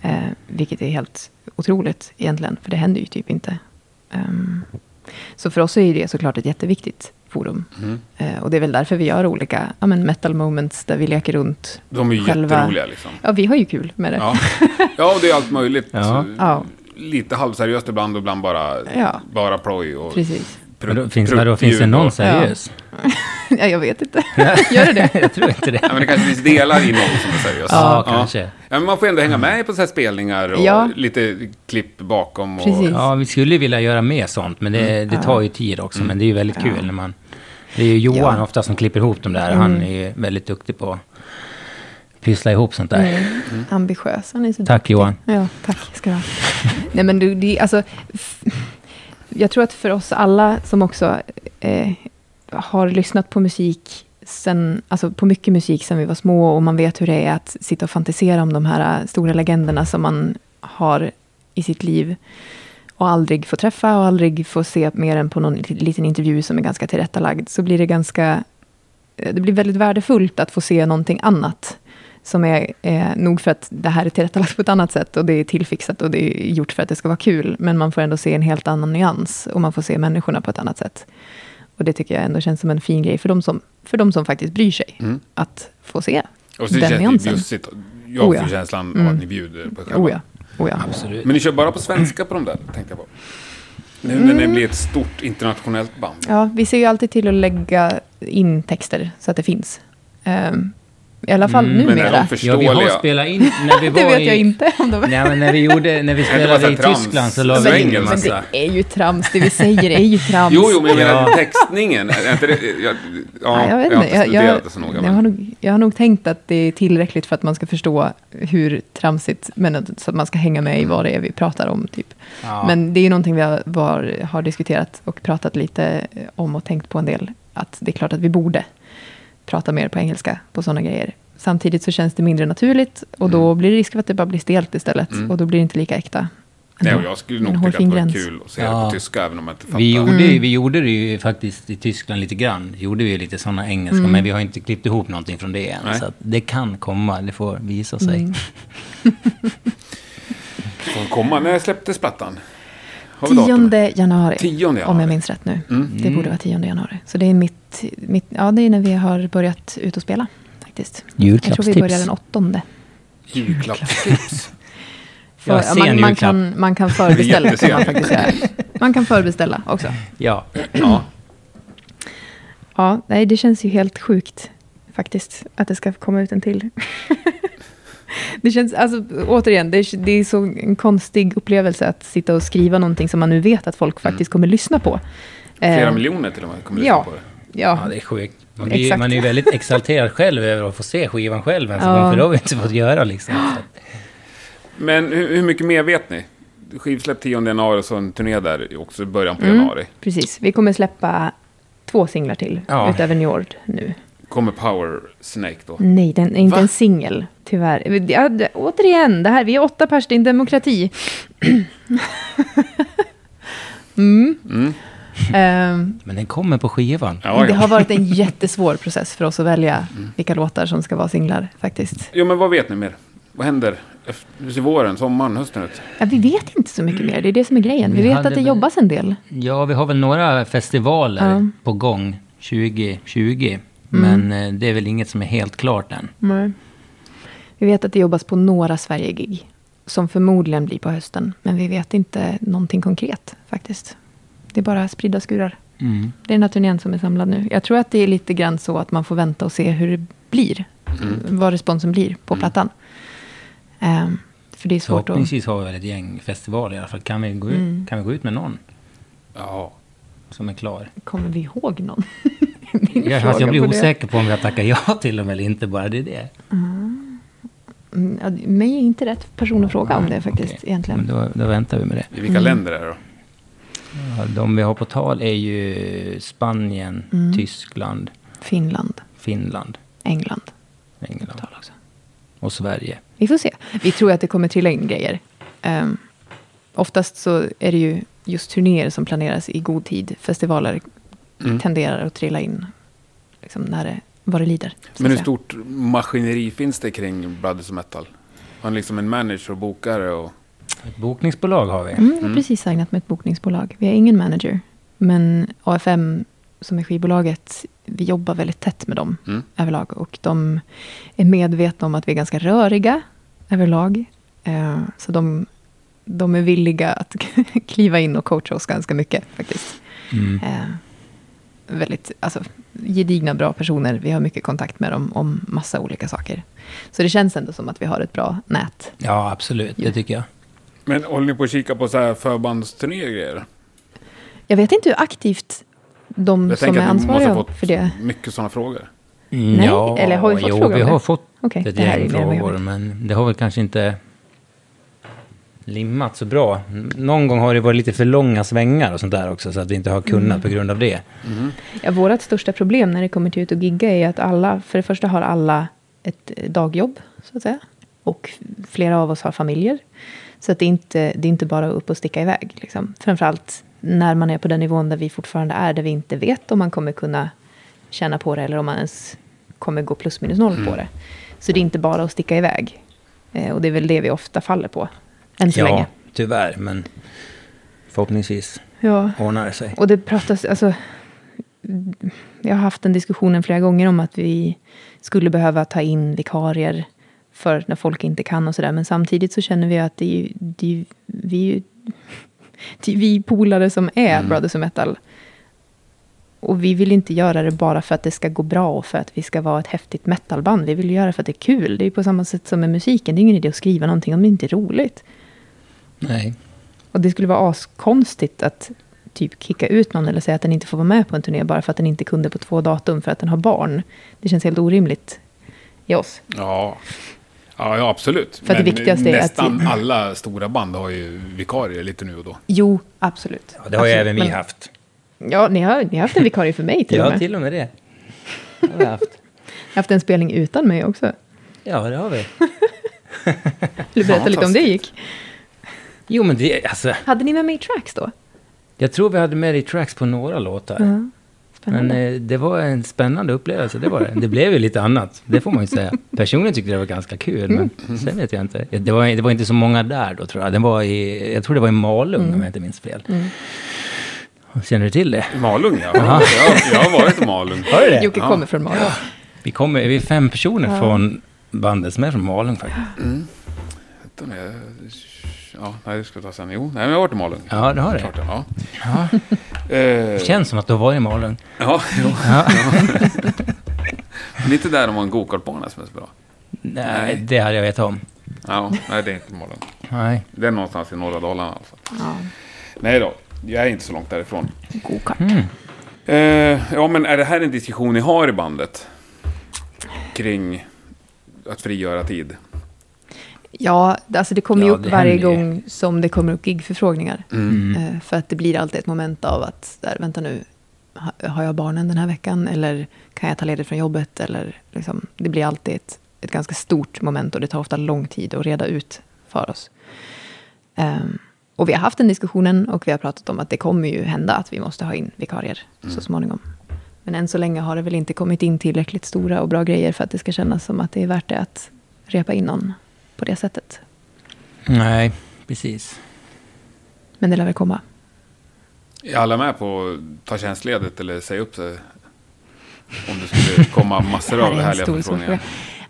eh, vilket är helt otroligt egentligen, för det händer ju typ inte. Ehm, så för oss är det såklart ett jätteviktigt forum.
Mm.
Eh, och det är väl därför vi gör olika ja, men metal moments där vi leker runt.
De är ju
själva-
jätteroliga liksom.
Ja, vi har ju kul med det.
Ja. ja, och det är allt möjligt.
Ja.
Ja.
Lite halvseriöst ibland och ibland bara,
Ja.
bara ploj. Och
Precis.
Men
prutt-
då, finns,
prutt-
vadå, finns det
ljud
någon
och-
seriös?
ja, jag vet inte. Gör det det?
jag tror inte det.
Ja, men det kanske finns delar i någon som är seriös.
Ja, kanske.
Ja, men man får ändå hänga med på så här spelningar och
Ja.
lite klipp bakom. Och,
Precis.
Ja, vi skulle vilja göra mer sånt, men det,
Mm.
det tar ju tid också. Men det är ju väldigt kul när man... Det är ju Johan
Ja. Mm.
ofta som klipper ihop de där. Han är ju väldigt duktig på pyssla ihop sånt där.
Mm. Ambitiös. Han är så
Tack Johan.
Ja, tack ska du ha. Nej, men du, det, är- alltså, f- jag tror att för oss alla som också eh, har lyssnat på musik sen, alltså på mycket musik sen vi var små och man vet hur det är att sitta och fantisera om de här eh, stora legenderna som man har i sitt liv och aldrig få träffa och aldrig få se mer än på någon liten intervju som är ganska tillrättalagd, så blir det ganska... eh, Det blir väldigt värdefullt att få se någonting annat som är eh, nog för att det här är tillrättalagt på ett annat sätt och det är tillfixat och det är gjort för att det ska vara kul, men man får ändå se en helt annan nyans och man får se människorna på ett annat sätt. Och det tycker jag ändå känns som en fin grej för de som, för de som faktiskt bryr sig, att få se
Mm. Och så
den
känns det
nyansen.
bjussigt. Jag
Oh,
får
ja.
känslan av att ni bjuder på er själva.
Oh ja, oh ja.
Absolut.
Men ni kör bara på svenska på de där, tänkte jag på. Nu när ni blir ett stort internationellt band.
Mm. Ja, vi ser ju alltid till att lägga in texter så att det finns. Ehm, I alla fall
Mm. Men är
numera.
de
Ja, vi
förståeliga?
har spelat in när vi
Det
var
vet
i...
jag inte om de
Nej, men när vi, gjorde, när vi
bara så
spelade
här
i
trams-
Tyskland så la
Men-
vi in en
men-
massa.
Alltså, det är ju trams, det vi säger är ju trams.
Jo, jo, men jag menar
Ja.
textningen. Är inte det, jag, ja,
Nej, jag, vet
har
inte.
inte
Jag,
studerat
jag,
det så noga.
jag, har
Men,
nog, jag har nog tänkt att det är tillräckligt för att man ska förstå hur tramsigt, men att, så att man ska hänga med i vad det är vi pratar om. Typ.
Ja.
Men det är ju någonting vi har, var, har diskuterat och pratat lite om och tänkt på en del. Att det är klart att vi borde prata mer på engelska på sådana grejer. Samtidigt så känns det mindre naturligt och
Mm.
då blir det risk för att det bara blir stelt istället och då blir det inte lika äkta.
nej, och jag skulle nog
En
tycka att det
hårfin
var
gräns.
kul att se det
Ja.
på tyska, även om jag inte fattar.
Mm.
Vi gjorde, vi gjorde det ju faktiskt i Tyskland lite grann. Gjorde vi lite sådana engelska,
Mm.
men vi har inte klippt ihop någonting från det än.
Nej.
Så att det kan komma, det får visa sig.
Mm.
Får komma. När släpptes plattan? Har vi datum?
10 januari,
10 januari. Mm.
om jag minns rätt nu. Det
Mm.
borde vara 10 januari. Så det är, mitt, mitt, ja, det är när vi har börjat ut och spela. faktiskt. Jag tror vi
Julklappstips.
börjar den åttonde.
Julklappstips.
För,
Ja,
ja,
sen
man, man,
julklapp.
kan, man kan förbeställa.
jättesen.
kan man, faktiskt göra. man kan förbeställa också.
Ja.
ja.
Ja, nej, det känns ju helt sjukt faktiskt att det ska komma ut en till. det känns, alltså återigen, det är, det är så en konstig upplevelse att sitta och skriva någonting som man nu vet att folk faktiskt kommer lyssna på.
Mm. Flera
Eh,
miljoner till och med kommer lyssna
ja,
på det.
ja,
ja,
det är sjukt. Man blir, ju-
Exakt.
man är ju väldigt exalterad själv över att få se skivan själv ens en
Ja.
gång, för det har vi inte fått göra liksom. Så att-
Men hur, hur mycket mer vet ni? Skivsläpp 10 januari och så en turné där också i början
Mm.
på januari.
precis. Vi kommer släppa två singlar till
Ja.
utöver Njord nu.
Kommer Power Snake då?
Nej, den är inte
Va?
en singel, tyvärr. Det- Ja, det, återigen, det här, vi är åtta pers, det är en demokrati. mm. Ehm,
Men den kommer på skivan.
Ja, Mm.
Det
ja.
har varit en jättesvår process för oss att välja vilka låtar som ska vara singlar faktiskt.
Jo, men vad vet ni mer? Vad händer? efter- Hur ser våren, sommaren, hösten ut?
Ja, vi vet inte så
Mm.
mycket mer, det är det som är grejen. Vi
Vi
vet
hade
att det
väl-
jobbas en del.
Ja, vi har väl några festivaler
Ja. Mm.
på gång 2020. Men eh, det är väl inget som är helt klart än.
Vi vet att det jobbas på några Sverige-gig. Som förmodligen blir på hösten. Men vi vet inte någonting konkret faktiskt. Det är bara spridda skurar.
Mm.
Det är den här turnén som är samlad nu. Jag tror att det är lite grann så att man får vänta och se hur det blir.
Mm.
Vad responsen blir på plattan. Ehm, för det är svårt att...
Förhoppningsvis har vi väl ett gäng festivaler i alla fall. Kan vi gå ut,
Mm.
kan vi gå ut med någon
Ja.
som är klar?
Kommer vi ihåg någon? Min
Jag,
fråga
alltså, jag blir
på det.
osäker på om jag tackar ja till dem eller inte bara. Det är det.
Mm, ja, mig är inte rätt person att fråga om det faktiskt
Okej. Men
egentligen.
då, då väntar vi med det.
I vilka
Mm.
länder är det då?
Ja, De vi har på tal är ju Spanien,
Mm.
Tyskland,
Finland,
Finland,
England.
England
tal också.
och Sverige.
Vi får se. Vi tror att det kommer trilla in grejer. Ehm, oftast så är det ju just turnéer som planeras i god tid. Festivaler
Mm.
tenderar att trilla in liksom när det, vad det lider. så att
Men hur
säga.
stort maskineri finns det kring Brothers Metal? Har ni liksom en manager och bokare och...
Ett bokningsbolag har vi.
Mm, jag har precis signat med ett bokningsbolag. Vi har ingen manager. Men AFM, som är skivbolaget, vi jobbar väldigt tätt med dem överlag. Och de är medvetna om att vi är ganska röriga överlag. Eh, Så de, de är villiga att kliva in och coacha oss ganska mycket faktiskt. Eh, Väldigt alltså, gedigna, bra personer. Vi har mycket kontakt med dem om massa olika saker. Så det känns ändå som att vi har ett bra nät.
Ja, absolut. Det tycker jag.
Men håller ni på att kika på så här förbandsturnéer och grejer?
Jag vet inte hur aktivt de
Jag
som
tänker
är
att ni måste
ansvariga
ha fått
för det...
mycket sådana frågor.
Nej, Mm, eller har vi fått
jo,
frågor om
vi
det?
har fått
Okej,
ett
det här är
gäng
mer än vad jag
frågor,
vet.
men det har väl kanske inte limmat så bra. Någon gång har det varit lite för långa svängar och sånt där också, så att vi inte har kunnat
Mm.
på grund av det.
Ja, vårt största problem när det kommer till ut och gigga är att alla, för det första har alla ett eh, dagjobb, så att säga. Och flera av oss har familjer. Så att det, är inte, det är inte bara upp och sticka iväg. Liksom. Framförallt när man är på den nivån där vi fortfarande är, där vi inte vet om man kommer kunna tjäna på det eller om man ens kommer gå plus minus noll
Mm.
på det. Så det är inte bara att sticka iväg. Eh, och det är väl det vi ofta faller på, än så
ja,
länge.
tyvärr, men förhoppningsvis
Ja.
ordnar det sig.
Och det pratas, alltså, jag har haft den diskussionen flera gånger om att vi skulle behöva ta in vikarier för när folk inte kan och sådär. Men samtidigt så känner vi att det är, ju- det är, ju- vi, är ju- det är vi polare som är Brothers of Metal. Och vi vill inte göra det bara för att det ska gå bra och för att vi ska vara ett häftigt metalband. Vi vill göra det för att det är kul. Det är ju på samma sätt som med musiken. Det är ingen idé att skriva någonting om det inte är roligt.
Nej.
Och det skulle vara askonstigt att typ kicka ut någon eller säga att den inte får vara med på en turné bara för att den inte kunde på två datum för att den har barn. Det känns helt orimligt i oss.
Ja. Ja, ja, absolut.
För att det
Men
viktigaste är att-
nästan alla stora band har ju vikarier lite nu och då.
Jo, absolut.
Ja, det har ju
absolut.
även vi
Alltså, Men-
haft.
Ja, ni har, ni har haft en vikarie för mig till och
Ja,
med.
till och med det. det har vi haft.
Jag har haft en spelning utan mig också.
Ja, det har vi.
Vill du berätta lite om det gick?
Jo, men det, alltså,
Hade ni med mig i Tracks då?
jag tror vi hade med dig tracks på några låtar.
Ja. Spännande.
Men eh, det var en spännande upplevelse, det var det. Det blev ju lite annat, det får man ju säga. Personligen tyckte jag det var ganska kul, men sen vet jag inte. Det var, det var inte så många där då, tror jag. Den var i, jag tror det var i Malung, om jag inte minns fel. Känner du till det?
Malung, ja. Jag, jag har varit i Malung.
Har du det?
Jocke kommer från Malå.
Vi, kommer, vi är fem personer från bandet som är från Malung faktiskt.
Utan det- Ja, nej, det ska jag ta sen. Jo, nej, men jag har varit i Malung.
Ja, det har det.
Klart, ja. Eh,
Det känns som att du har varit i Malung.
ja, jo. Ja. Lite där de har en gokartbana som är så bra.
Nej, det hade jag vetat om.
Ja, nej, det är inte Malung.
Nej.
Det är någonstans i norra Dalarna alltså. i alla fall.
Ja.
Nej då, jag är inte så långt därifrån.
Gokart.
Eh, ja, men är det här en diskussion ni har i bandet? Kring att frigöra tid?
Ja, det- alltså det kommer ju
Ja,
upp
det
varje
händer ju. Mm.
gång som det kommer upp gigförfrågningar. Eh, För att det blir alltid ett moment av att, där, vänta nu, ha- har jag barnen den här veckan? Eller kan jag ta ledigt från jobbet? Eller, liksom, det blir alltid ett, ett ganska stort moment och det tar ofta lång tid att reda ut för oss. Ehm, och vi har haft den diskussionen och vi har pratat om att det kommer ju hända att vi måste ha in vikarier
Mm.
så småningom. Men än så länge har det väl inte kommit in tillräckligt stora och bra grejer för att det ska kännas som att det är värt det att repa in någon på det sättet.
Nej, precis.
Men det lär väl komma.
Är alla med på att ta tjänstledigt eller säga upp sig? Om det skulle komma massor av
är en
härliga
stor, stor
förfrågningar.
fråga.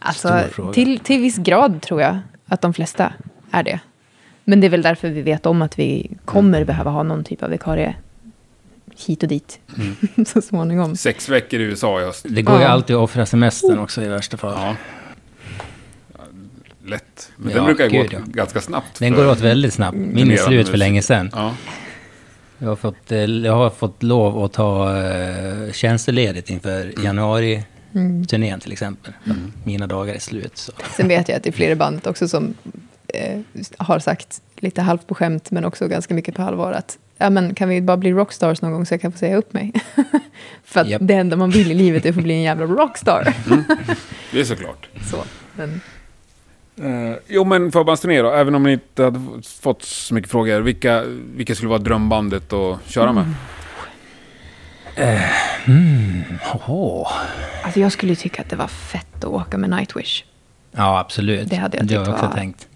Alltså,
Stor fråga.
Till, till viss grad tror jag att de flesta är det. Men det är väl därför vi vet om att vi kommer behöva ha någon typ av vikarie hit och dit så småningom.
Sex veckor i USA i höst.
Det går ju
Ja.
alltid att offra semestern också i värsta fall.
Ja. Lätt. Men
Ja,
den brukar gå
gud, ja.
ganska snabbt.
Den
för-
går åt väldigt snabbt. Min är
Turnerande
slut för
musik.
länge sedan.
Ja.
Jag har fått, eh, jag har fått lov att ta eh, tjänsteledigt inför
Mm.
januari-turnén till exempel. Mina dagar är slut. Så.
Sen vet jag att det är flera i bandet också som eh, har sagt, lite halvt på skämt men också ganska mycket på allvar, att ja, men kan vi bara bli rockstars någon gång så jag kan få säga upp mig? För att
Japp.
det enda man vill i livet är att få bli en jävla rockstar.
Det är såklart.
så, men,
Eh, jo, men förbandsturné då, även om ni inte hade f- fått så mycket frågor. Vilka, vilka skulle vara drömbandet att köra
Mm.
med?
Åh.
alltså jag skulle ju tycka att det var fett att åka med Nightwish.
Ja, absolut.
Det hade jag
det har
tyckt
också
var-
tänkt.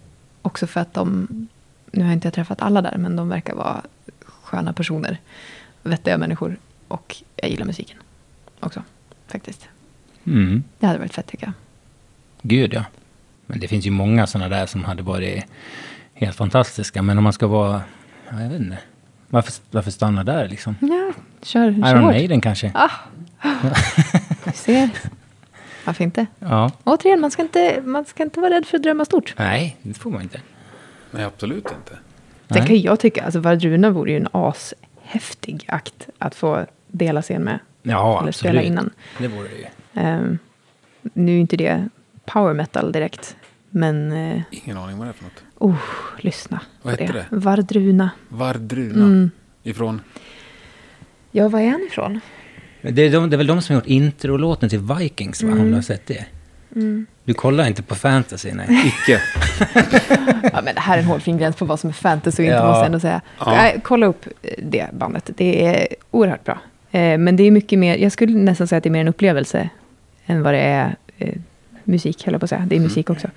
Också för att de, nu har inte jag träffat alla där, men de verkar vara sköna personer. Vettiga människor. Och jag gillar musiken också, faktiskt.
Mm.
Det hade varit fett tycker jag.
Gud ja. Men det finns ju många sådana där som hade varit helt fantastiska. Men om man ska vara... Ja, jag vet inte. Varför, varför stanna där liksom?
Ja, kör, kör
Iron
hårt.
Maiden kanske?
Ah. Du ser. Varför inte?
Ja.
Återigen, man ska inte, man ska inte vara rädd för att drömma stort.
Nej, det får man inte.
Nej, absolut inte.
Sen
Nej.
kan jag tycka, alltså Vardruna vore ju en ashäftig akt att få dela scen med.
Ja,
Eller
absolut.
spela innan.
Det vore det ju.
Ehm, Nu är inte det power metal direkt, men eh,
Ingen aning vad det är för något.
oh, lyssna
Vad
på
hette
det. Vardruna.
Vardruna. Ifrån?
Ja, var är han ifrån?
Men Det är, de, det är väl de som har gjort introlåten till Vikings, va?
Mm.
Om du har sett det? Du kollar inte på fantasy, nej.
Icke.
Ja, men det här är en hårfin gräns på vad som är fantasy och inte,
Ja.
måste jag ändå säga. Nej, kolla upp eh, det bandet. Det är oerhört bra. Eh, Men det är mycket mer, jag skulle nästan säga att det är mer en upplevelse än vad det är eh, musik, höll jag på att säga. Det är
Mm.
musik också.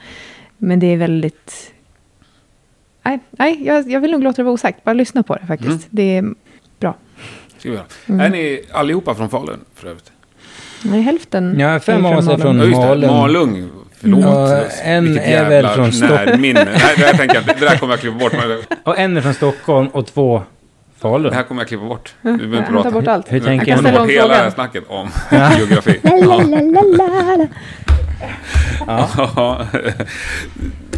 Men det är väldigt... Nej, nej jag, jag vill nog låta det vara osagt. Bara lyssna på det faktiskt.
Mm.
Det är bra.
Ska vi göra. Är ni allihopa från Falun för övrigt?
Nej, hälften
Ja, fem
är
av oss är
Malung.
från
Ja, just det.
Malung.
Malung. Förlåt.
Ja, en
Vilket
är väl
jävla
från Stockholm.
närminne. Nej, det här tänker jag inte. Det där kommer jag klippa bort.
Och en är från Stockholm och två Falun.
Det här kommer jag klippa bort. Du behöver
Ja,
inte
han tar
prata.
bort allt.
Hur tänker
Jag
jag
kan
tar
ställa om
bort hela det här
frågan.
snacket om geografi. Ja.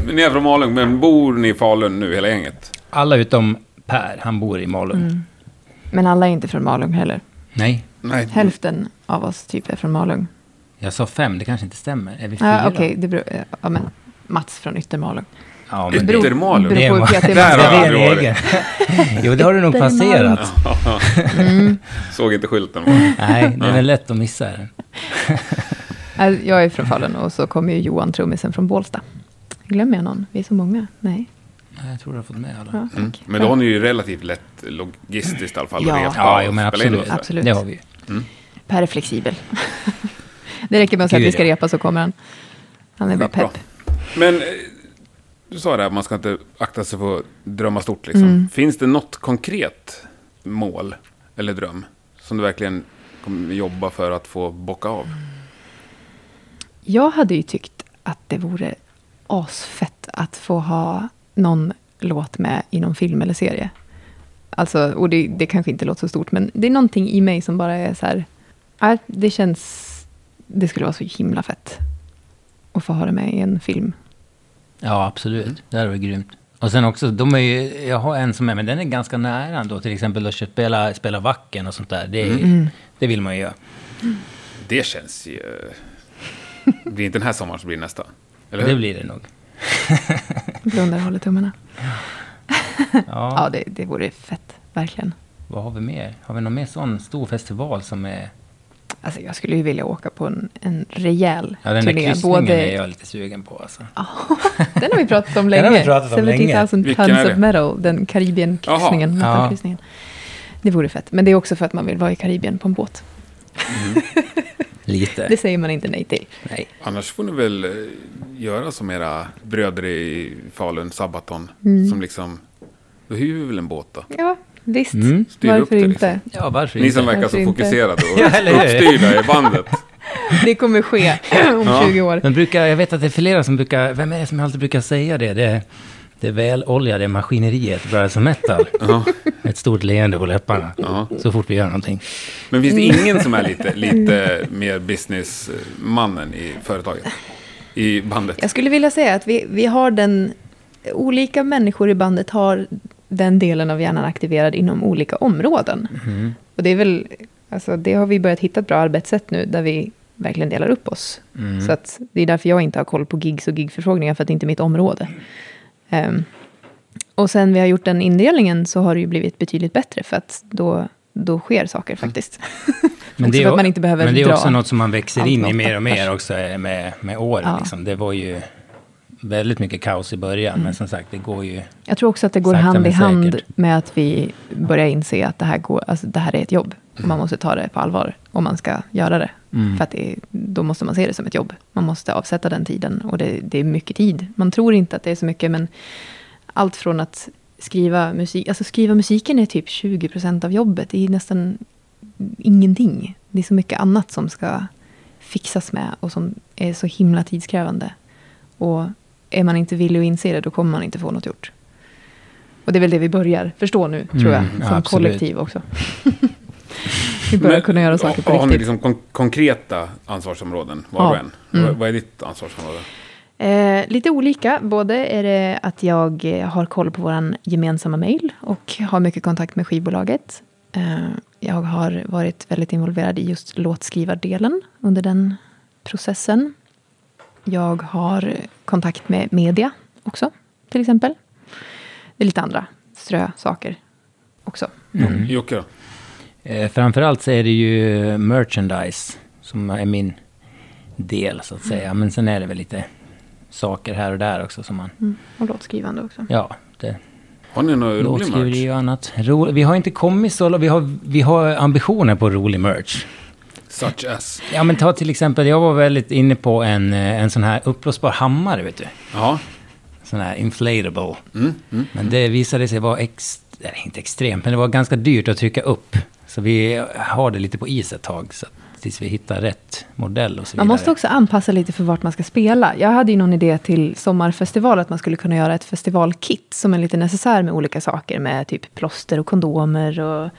Men ni är från Malung, men bor ni i Falun nu, hela gänget?
Alla utom Per, han bor i Malung.
Mm. Men alla är inte från Malung heller.
Nej,
Nej.
Hälften av oss typ är från Malung.
jag sa fem, det kanske inte stämmer. Är vi fyra?
Ja, Okej, det beror... eh, Ja, men Mats från Yttermalung.
Ja, men det,
Beror-
Yttermalung?
beror på hur
Det är-
petig man
Där
det
ska
har
vara.
jag
är
aldrig
en
varit.
egen. jo, det har du nog
Yttermalm.
passerat.
Såg inte skylten. Mm. va?
Nej, det är lätt att missa den.
Nej, Jag är från Falun och så kommer ju Johan, trummisen från Bålsta. Glömmer jag någon? Vi är så många. Nej.
Nej, Jag tror du har fått med alla.
Ja,
Mm.
tack.
Men då har ni ju relativt lätt logistiskt i alla fall.
Ja.
att repa
Ja,
och
jo, men
spela in
absolut.
och så.
Absolut.
Det har vi ju.
Per är flexibel. det räcker med att säga att vi
Gud,
ska
ja.
repa så kommer han. Han är bara
Skitbra.
pepp.
Men eh, du sa det här, man ska inte akta sig för att drömma stort. Liksom. Finns det något konkret mål eller dröm som du verkligen kommer jobba för att få bocka av?
Jag hade ju tyckt att det vore asfett att få ha någon låt med i någon film eller serie. Alltså, och det, det kanske inte låter så stort, men det är någonting i mig som bara är så här... ja, Det känns... Det skulle vara så himla fett att få ha det med i en film.
Ja,
Mm.
absolut. Det här var grymt. Och sen också, de är ju, jag har en som är, men den är ganska nära ändå. Till exempel att spela, spela vacken och sånt där. Det,
Mm.
är,
Mm.
det vill man ju göra.
Det känns ju... eh, Det blir inte den här sommaren så blir det nästa. Eller
Det
hur?
blir det nog.
Blundar och håller tummarna.
Ja.
Ja, det, det vore fett, verkligen.
Vad har vi mer? Har vi någon mer sån stor festival som är...
Alltså, jag skulle ju vilja åka på en, en rejäl
Ja, den där
turné.
kryssningen är jag lite sugen på alltså.
Den har vi pratat om
Den
länge.
har vi pratat om länge.
70,000
Vilken är
tons
det?
of metal, den Karibienkryssningen.
Jaha. Ja.
metalkryssningen. Det vore fett, men det är också för att man vill vara i Karibien på en båt.
Lite.
Eh.
Det säger man inte nej till.
Nej.
Annars får ni väl eh, göra som era bröder i Falun, Sabaton, som liksom... Då hyr vi väl en båt då?
Ja, visst.
Mm.
Styr upp
Varför
det liksom.
inte?
Ja, varför
Ni
inte?
som verkar
Varför
så
inte?
fokuserade och
Ja, eller hur?
uppstyrda i bandet. liksom.
Det kommer ske om 20 år.
Men brukar, jag vet att det är flera som brukar... Vem är det som alltid brukar säga det? Det, är- det väloljade maskineriet, Brothers of Metal. Ett stort leende på läpparna. Så fort vi gör någonting.
Men finns det
Mm.
ingen som är lite, lite mer businessmannen i företaget? I bandet?
Jag skulle vilja säga att vi, vi har den... Olika människor i bandet har den delen av hjärnan aktiverad inom olika områden.
Mm.
Och det är väl... Alltså, det har vi börjat hitta ett bra arbetssätt nu, där vi verkligen delar upp oss.
Mm.
Så att det är därför jag inte har koll på gigs och gigförfrågningar, för att det inte är mitt område. Ehm, och sen vi har gjort den indelningen så har det ju blivit betydligt bättre, för att då, då sker saker faktiskt. också
är
för
o-
att man inte behöver
Men Mm. det är
dra
också något som man växer
allt
in i
med
mer
åtta
och mer
pers.
också eh, med, med åren.
Ja.
Liksom. Det var ju väldigt mycket kaos i början,
Mm.
men som sagt, det går ju...
Jag tror också att det går
Sakta
hand i
men
hand
säkert.
med att vi börjar inse att det här, går, alltså det här är ett jobb.
Mm.
Och man måste ta det på allvar om man ska göra det. För att det, då måste man se det som ett jobb. Man måste avsätta den tiden och det, det är mycket tid. Man tror inte att det är så mycket, men allt från att skriva musik, alltså skriva musiken är typ 20% av jobbet. Det är nästan ingenting. Det är så mycket annat som ska fixas med och som är så himla tidskrävande. Och är man inte villig att inse det, då kommer man inte få något gjort. Och det är väl det vi börjar förstå nu, tror jag,
Mm, ja,
som
absolut.
kollektiv också. vi börjar
Men,
kunna göra saker på
har- Har ni
riktigt.
liksom kon- konkreta ansvarsområden, var och
Ja. Mm.
en? Vad- Vad är ditt ansvarsområde?
Eh, lite olika. Både är det att jag eh, har koll på vår gemensamma mail och har mycket kontakt med skivbolaget. Eh, jag har varit väldigt involverad i just låtskrivardelen under den processen. Jag har kontakt med media också, till exempel. Det är lite andra strösaker också.
Jocke då?
Eh, framförallt så är det ju merchandise som är min del så att säga. Men sen är det väl lite saker här och där också som man...
Mm. Och låtskrivande också.
Ja, det,
Har ni någon rolig
låtskriveri
merch?
och annat. Ro, vi har inte kommit så långt. Vi har, vi har ambitioner på rolig merch.
Such as.
Ja men ta till exempel, jag var väldigt inne på en, eh, en sån här uppblåsbar hammare vet du.
Ja.
Sån här inflatable.
Mm,
men det visade sig vara, ex, nej, inte extremt, men det var ganska dyrt att trycka upp. Så vi har det lite på is ett tag. Så att, tills vi hittar rätt modell och så vidare.
Man måste också anpassa lite för vart man ska spela. Jag hade ju någon idé till sommarfestival att man skulle kunna göra ett festivalkit som en liten necessär med olika saker med typ plåster och kondomer och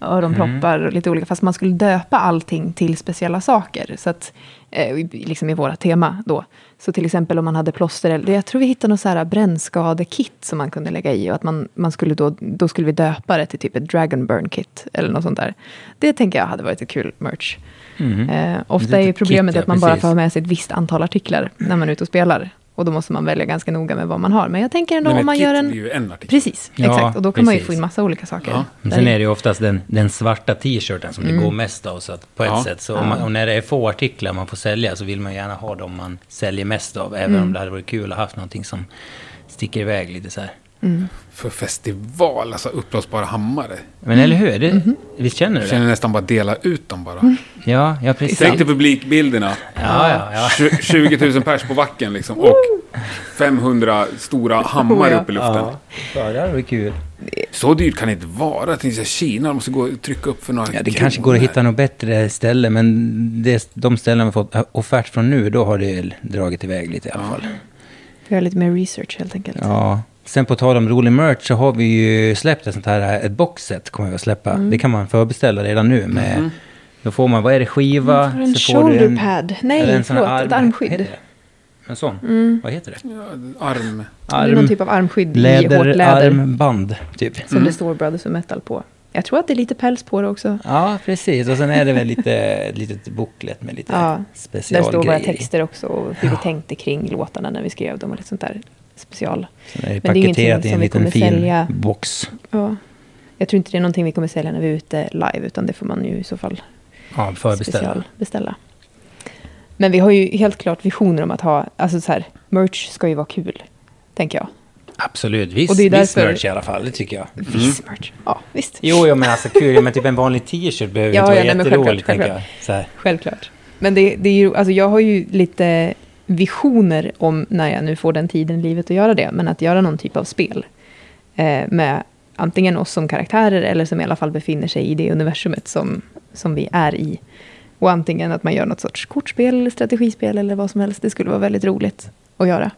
öronproppar och lite olika. Fast man skulle döpa allting till speciella saker. Så att, eh, i- liksom i våra tema då. Så till exempel om man hade plåster, eller jag tror vi hittade något så här brännskadekit som man kunde lägga i och att man, man skulle då, då skulle vi döpa det till typ ett dragon burn kit eller något sånt där. Det tänker jag hade varit ett kul merch.
Mhm.
Eh, ofta är ju
Litet
problemet
kit, ja,
att man bara
precis.
får ha med sig ett visst antal artiklar när man är ute och spelar. Och då måste man välja ganska noga med vad man har. Men jag tänker ändå
Men
om
ett
man
kit
gör
blir
en...
ju en artikel.
Precis,
Ja,
exakt. Och då kan man ju
precis.
få in massa olika saker.
Ja.
Men
där
Sen
i.
är det ju oftast den, den svarta t-shirten som
Mm.
det går mest av. Så att på ett
Ja.
sätt, så om man, och när det är få artiklar man får sälja så vill man gärna ha dem man säljer mest av. Även
Mm.
om det hade varit kul att haft någonting som sticker iväg lite så här.
För festival, alltså uppblåsbara hammare.
Men eller hur? Det,
Mm.
Visst känner du
Jag
det?
känner nästan bara dela ut dem bara.
Ja, ja precis.
Tänk dig publikbilderna.
Ja, ja, ja.
Tju- 20 000 pers på backen liksom. Och 500 stora hammare uppe i luften.
Ja, ja det hade varit kul.
Så dyrt kan det inte vara. Tänk sig Kina, de måste gå och trycka upp för några
Ja, det kanske går att
kronor.
hitta något bättre ställe, men det, de ställen vi fått offert från nu, då har det dragit iväg lite i alla fall.
Får göra lite mer research helt enkelt.
Ja. Sen på tal om rolig merch så har vi ju släppt ett sånt här, eh, ett boxset kommer vi att släppa.
Mm.
Det kan man förbeställa redan nu med, då får man, vad är det, skiva?
Mm, får en
så får du
shoulder pad. Nej,
eller sån
förlåt,
här
ett armskydd.
heter det? En sån, vad heter det? Mm.
Arm.
det är någon typ av armskydd i hårt
läder,
läder.
armband, typ.
Som
Mm.
det står Brothers of Metal på. Jag tror att det är lite päls på det också.
Ja, precis. Och sen är det väl lite, ett litet boklet med lite
Ja, Där
specialgrejer.
står våra
i.
texter också och hur vi tänkte kring låtarna när vi skrev dem och lite sånt där special.
Sen är det
Men det är ingenting
paketerat i
som
en
vi
liten
kommer
fin
sälja.
box.
Ja. Jag tror inte det är någonting vi kommer sälja när vi är ute live, utan det får man ju i så fall
Ja, förbeställa.
specialbeställa. Men vi har ju helt klart visioner om att ha, alltså så här, merch ska ju vara kul, tänker jag.
Absolut, viss,
Och det är
viss
därför-
merch i alla fall, det tycker jag.
Viss merch. Ja, visst.
Jo, ja, men alltså kul, men typ en vanlig t-shirt behöver
Ja,
inte vara
ja, nej, men
jätterolig,
självklart,
tänker jag.
självklart.
Så här.
Självklart. Men det, det är ju, alltså jag har ju lite visioner om när jag nu får den tiden i livet att göra det, men att göra någon typ av spel eh, med antingen oss som karaktärer eller som i alla fall befinner sig i det universumet som, som vi är i. Och antingen att man gör något sorts kortspel eller strategispel eller vad som helst. Det skulle vara väldigt roligt att göra.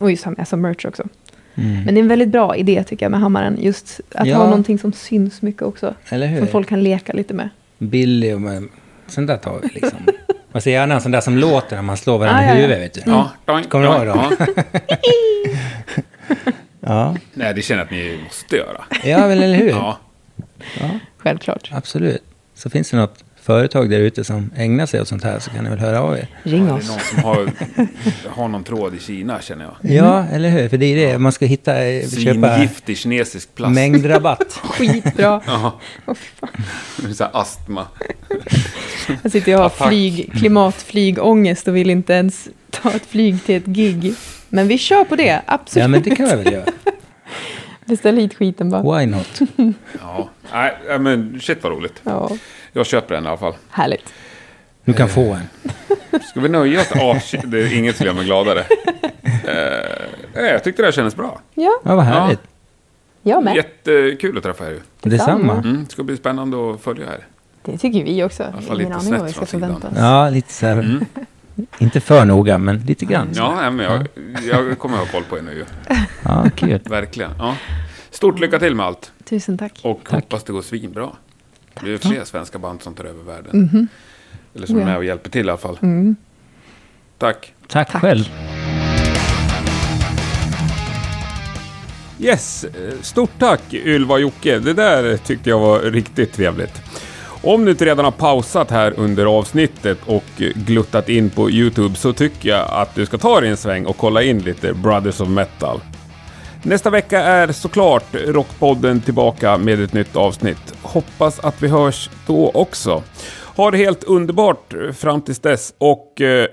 Och just ha med som merch också. Men det är en väldigt bra idé tycker jag med hammaren. Just att
Mm. Ja.
ha någonting som syns mycket också.
Eller hur?
Som folk kan leka lite med.
Billy och men, sånt där tar vi liksom. Man ser gärna en sån där som låter när man slår varandra
Ah, ja,
i
ja.
huvudet, vet du.
Ja, doink,
Kommer du ihåg
doink,
dem?
ja.
Ja,
Nej, det känner jag att ni måste göra.
ja väl, eller hur?
Ja.
Självklart.
Absolut. Så finns det något företag där ute som ägnar sig åt sånt här så kan ni väl höra av er.
Ring
Det är
oss.
någon som har, har någon tråd i Kina, känner jag.
Mm.
Ja, eller hur? För det är det, man ska hitta, eh, köpa
Svingiftig kinesisk plast.
mängdrabatt.
Skitbra.
Ja,
Åh, fy fan.
så här astma.
Jag sitter ju och har
Attack.
flyg, klimatflygångest och vill inte ens ta ett flyg till ett gig. Men vi kör på det, absolut.
Ja, men det kan vi väl göra.
Beställ hit skiten bara.
Why not?
Ja, nej, nej, men shit vad roligt.
Ja,
Jag köper den i alla fall.
härligt.
Du kan få en.
Ska vi nöja oss? Ah, shit, det är inget som gör mig gladare. Eh, nej, jag tyckte det här kändes bra.
Ja,
Ja, vad härligt.
jag med.
Jättekul att träffa er. ju.
Detsamma.
Mm, det ska bli spännande att följa er.
Det tycker vi också.
fall
Ingen aning
lite
vad
snett
vi ska
från
förvänta oss.
Ja, lite så här. Inte för noga, men lite grann.
Mm. Ja, nej, men jag, jag kommer att ha koll på er nu ju.
Ja, kul.
Verkligen. Ja. Stort lycka till med allt.
Tusen tack.
Och hoppas det går svinbra. Det är fler svenska band som tar över världen. Eller
Mhm. Ja.
som är
Mm.
med och hjälper till i alla fall. Tack.
Tack,
Tack.
själv.
Yes, eh, stort tack Ylva och Jocke. Det där tyckte jag var riktigt trevligt. Om du inte redan har pausat här under avsnittet och eh, gluttat in på Youtube så tycker jag att du ska ta dig en sväng och kolla in lite Brothers of Metal. Nästa vecka är såklart Rockpodden tillbaka med ett nytt avsnitt. Hoppas att vi hörs då också. Ha det helt underbart fram tills dess och eh,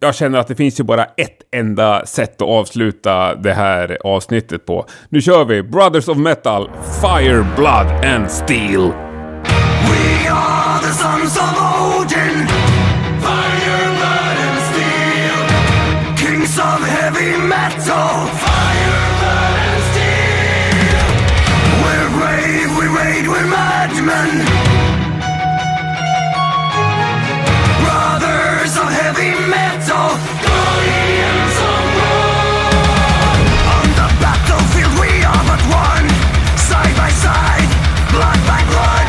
jag känner att det finns ju bara ett enda sätt att avsluta det här avsnittet på. Nu kör vi! Brothers of Metal, Fire, Blood and Steel.
We are the sons of Odin. Fire, blood, and steel. Kings of heavy metal. Fire, blood, and steel. We're brave, we raid, we're madmen. Brothers of heavy metal. Guardians of on the battlefield we are but one Side by side, blood by blood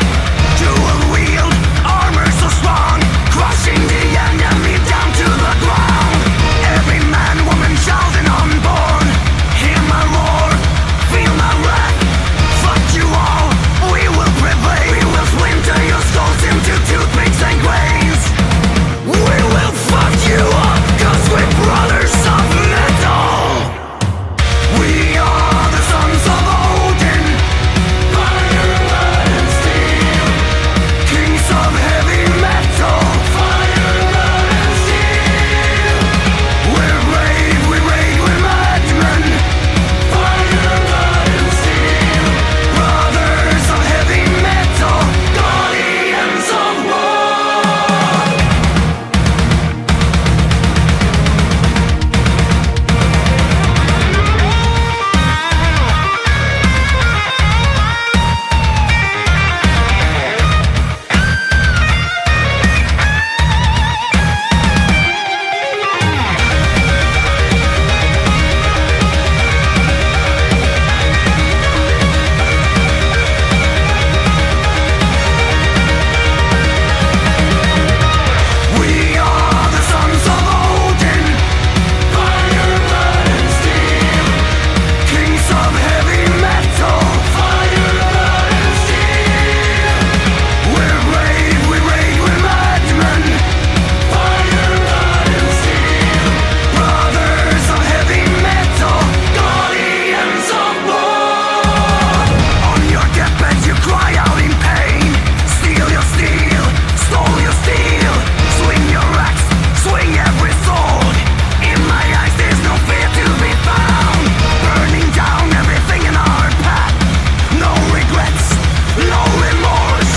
Dual wield, armor so strong Crushing the enemy down to the ground Every man, woman, child and unborn Hear my roar, feel my wrath Fuck you all, we will prevail We will splinter your skulls into toothpicks and grains We will fuck you up Cause we're brothers of metal we are the sons of Odin, fire, blood, and steel. Kings of heavy metal, fire, blood, and steel. We're brave, we raid, we're madmen, fire, blood, and steel. Brothers of heavy metal, guardians of war. We are the sons of Odin, fire, blood, and steel. Kings of heavy metal, fire, blood, and steel. We're brave, we raid, we're madmen, fire, blood, and steel. Brothers of heavy metal, guardians of war. On your deathbed you cry out in pain. Steal your steel, stole your steel. Swing your axe, swing every sword. In my eyes there's no fear to be found. Burning down everything in our path. No regrets, no remorse.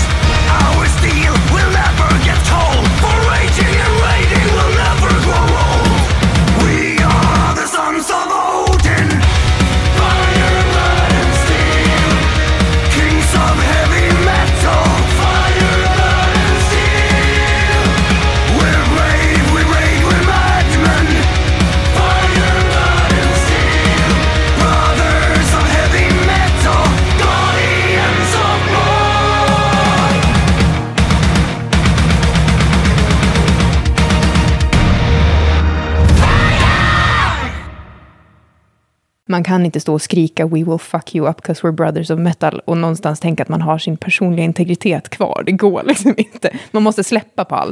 Our steel will never get cold. For raging and raiding will never grow old. We are the sons of Odin. Fire, blood, and steel. Kings of heavy metal, fire, blood, and steel. We're brave, we raid, we're madmen. Fire, blood, and steel. Brothers of heavy metal, guardians of war.
Man kan inte stå och skrika “We will fuck you up cause we're brothers of metal” och någonstans tänka att man har sin personliga integritet kvar. Det går liksom inte. Man måste släppa på allt.